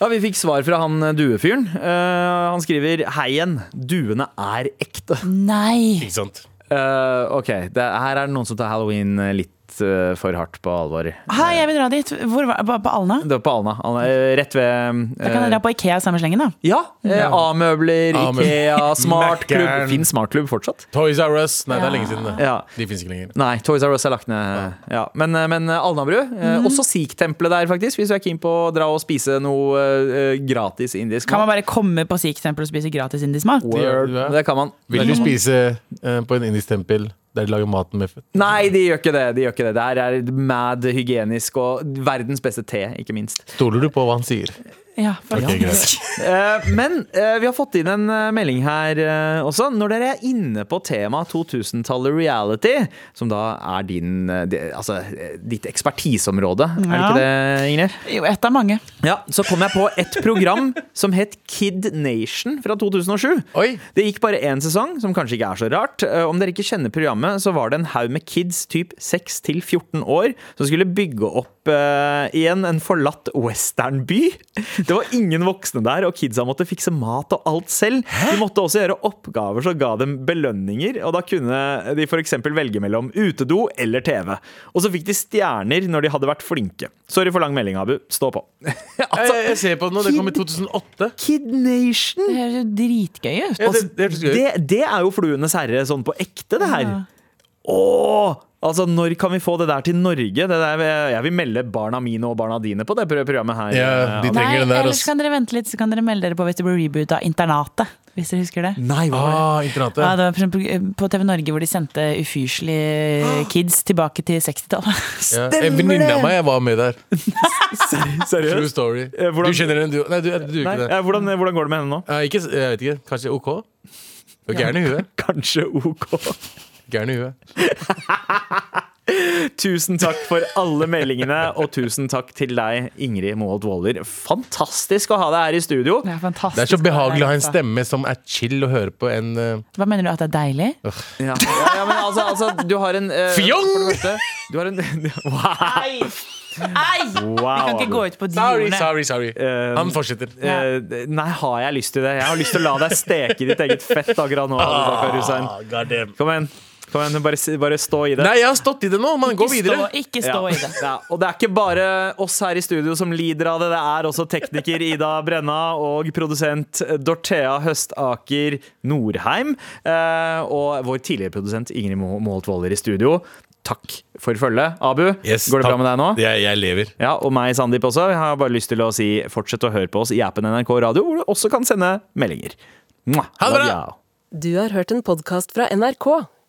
B: Ja, Vi fikk svar fra han eh, duefyren. Eh, han skriver Hei igjen, duene er ekte.
D: Nei!
C: Ikke sant?
B: Eh, ok, det, her er det noen som tar halloween eh, litt eh, for hardt på alvor.
D: Hei, jeg vil dra dit. Hvor, var- på, på Alna?
B: Det var på Alna. Alna eh, rett ved
D: Da kan jeg dra på Ikea i samme slengen, da.
B: Ja. eh, A-møbler,
C: A-møbler.
B: Ikea, smartklubb.
C: Mækkern.
B: Fins smartklubb fortsatt?
C: Toys R Us. Nei, det er lenge siden, det.
B: Ja.
C: De fins ikke lenger.
B: Nei, Toys R Us er lagt ned. Ja. Men, eh, men Alnabru. eh,
D: Mhm.
B: Også Sikh-tempelet der, faktisk. Hvis du er keen på å dra og spise noe eh, gratis indisk.
D: Kan man
B: mat.
D: bare komme på Sikh-tempelet og spise gratis indisk mat?
B: Word.
C: Ja.
B: Det kan man.
C: Vil du spise eh, på en indisk tempel der de lager maten med fett?
B: Nei, de gjør ikke det. De gjør ikke det. Der er mad hygienisk og verdens beste te, ikke minst.
C: Stoler du på hva han sier?
D: Ja,
C: Ok, greit.
B: Eh, Men eh, vi har fått inn en eh, melding her eh, også. Når dere er inne på temaet 2000-tallet reality, som da er din, eh, det- altså, eh, ditt ekspertiseområde, er det
D: Ja.
B: ikke det, Ingrid?
D: Jo, ett av mange.
B: Ja, Så kom jeg på et program som het Kid Nation fra 2007.
C: Oi.
B: Det gikk bare én sesong, som kanskje ikke er så rart. Eh, Om dere ikke kjenner programmet, så var det en haug med kids typ 6 til 14 år som skulle bygge opp opp eh, igjen en forlatt westernby. [laughs] Det var ingen voksne der, og kidsa måtte fikse mat og alt selv. De måtte også gjøre oppgaver som ga dem belønninger, og da kunne de f.eks. velge mellom utedo eller TV. Og så fikk de stjerner når de hadde vært flinke. Sorry for lang melding, Abu. Stå [laughs] på. Eh,
C: jeg, jeg ser på det nå, det kom i 2008.
B: Altså, Kid Nation!
D: Det høres jo dritgøy ut.
C: Ja,
B: Altså,
C: det- det
B: det,
C: hørtes gøy ut.
B: det, er jo Fluenes herre sånn på ekte, det her. Åh! Altså, Når kan vi få det der til Norge? Det der, jeg vil melde barna mine og barna dine på det pro- programmet her.
C: Ja, de
B: eh,
C: trenger
D: Nei,
C: den der,
D: ellers
C: ass.
D: kan dere vente litt, så kan dere melde dere på hvis det blir reboot av Internatet. Hvis dere husker det.
B: Nei, hva var det?
C: Ah,
D: Ja,
C: internatet.
D: det var for eksempel eh, på TV Norge hvor de sendte ufyselige kids tilbake til 60-tallet.
C: [laughs] Ja. En venninne av meg jeg var med der. True
B: [laughs] Seriøst?
C: story.
B: Eh, hvordan-
C: Du kjenner henne, du? Nei, du, du gjør
B: Nei,
C: Ah, ikke det.
B: eh, hvordan, hvordan går det med henne nå?
C: Eh, ikke, s- jeg vet ikke. Kanskje OK? Du er gæren i huet.
B: Kanskje OK.
C: Gæren i huet.
B: Tusen takk for alle meldingene, og tusen takk til deg, Ingrid Moholt Waaler. Fantastisk å ha deg her i studio.
D: Det er fantastisk.
C: Det er så behagelig å ha en
D: Altså.
C: stemme som er chill å høre på en eh,
D: Hva mener du at det er deilig?
B: Ja, ja, ja men altså, altså du har en eh,
C: Fjong!
B: for det første, Du har en [laughs] Wow!
D: Nei! Nei! Vi kan ikke
B: Abu.
D: gå ut på de
C: Sorry,
D: ordene.
C: sorry, sorry. Han fortsetter.
B: Eh, nei, har jeg lyst til det? Jeg har lyst til å la deg steke ditt eget fett akkurat nå.
C: Ah,
B: Abubakar Hussein. Kom igjen. Kom igjen. Bare, s- bare stå i det.
C: Nei, jeg har stått i det nå. Man går videre.
D: Stå, ikke
B: Ja.
D: stå i det.
B: Ja, og det er ikke bare oss her i studio som lider av det. Det er også tekniker Ida Brenna og produsent Dorthea Høstaker Norheim. eh, Og vår tidligere produsent Ingrid Mo- Moholt Waller i studio. Takk for følget. Abu,
C: Yes,
B: går det bra
C: takk.
B: med deg nå?
C: Jeg, jeg lever.
B: Ja, og meg, Sandeep, også. Jeg har bare lyst til å si fortsett å høre på oss i appen NRK Radio, hvor du også kan sende meldinger. Mwah.
C: Ha det bra!
B: Love you.
A: Du har hørt en podkast fra NRK.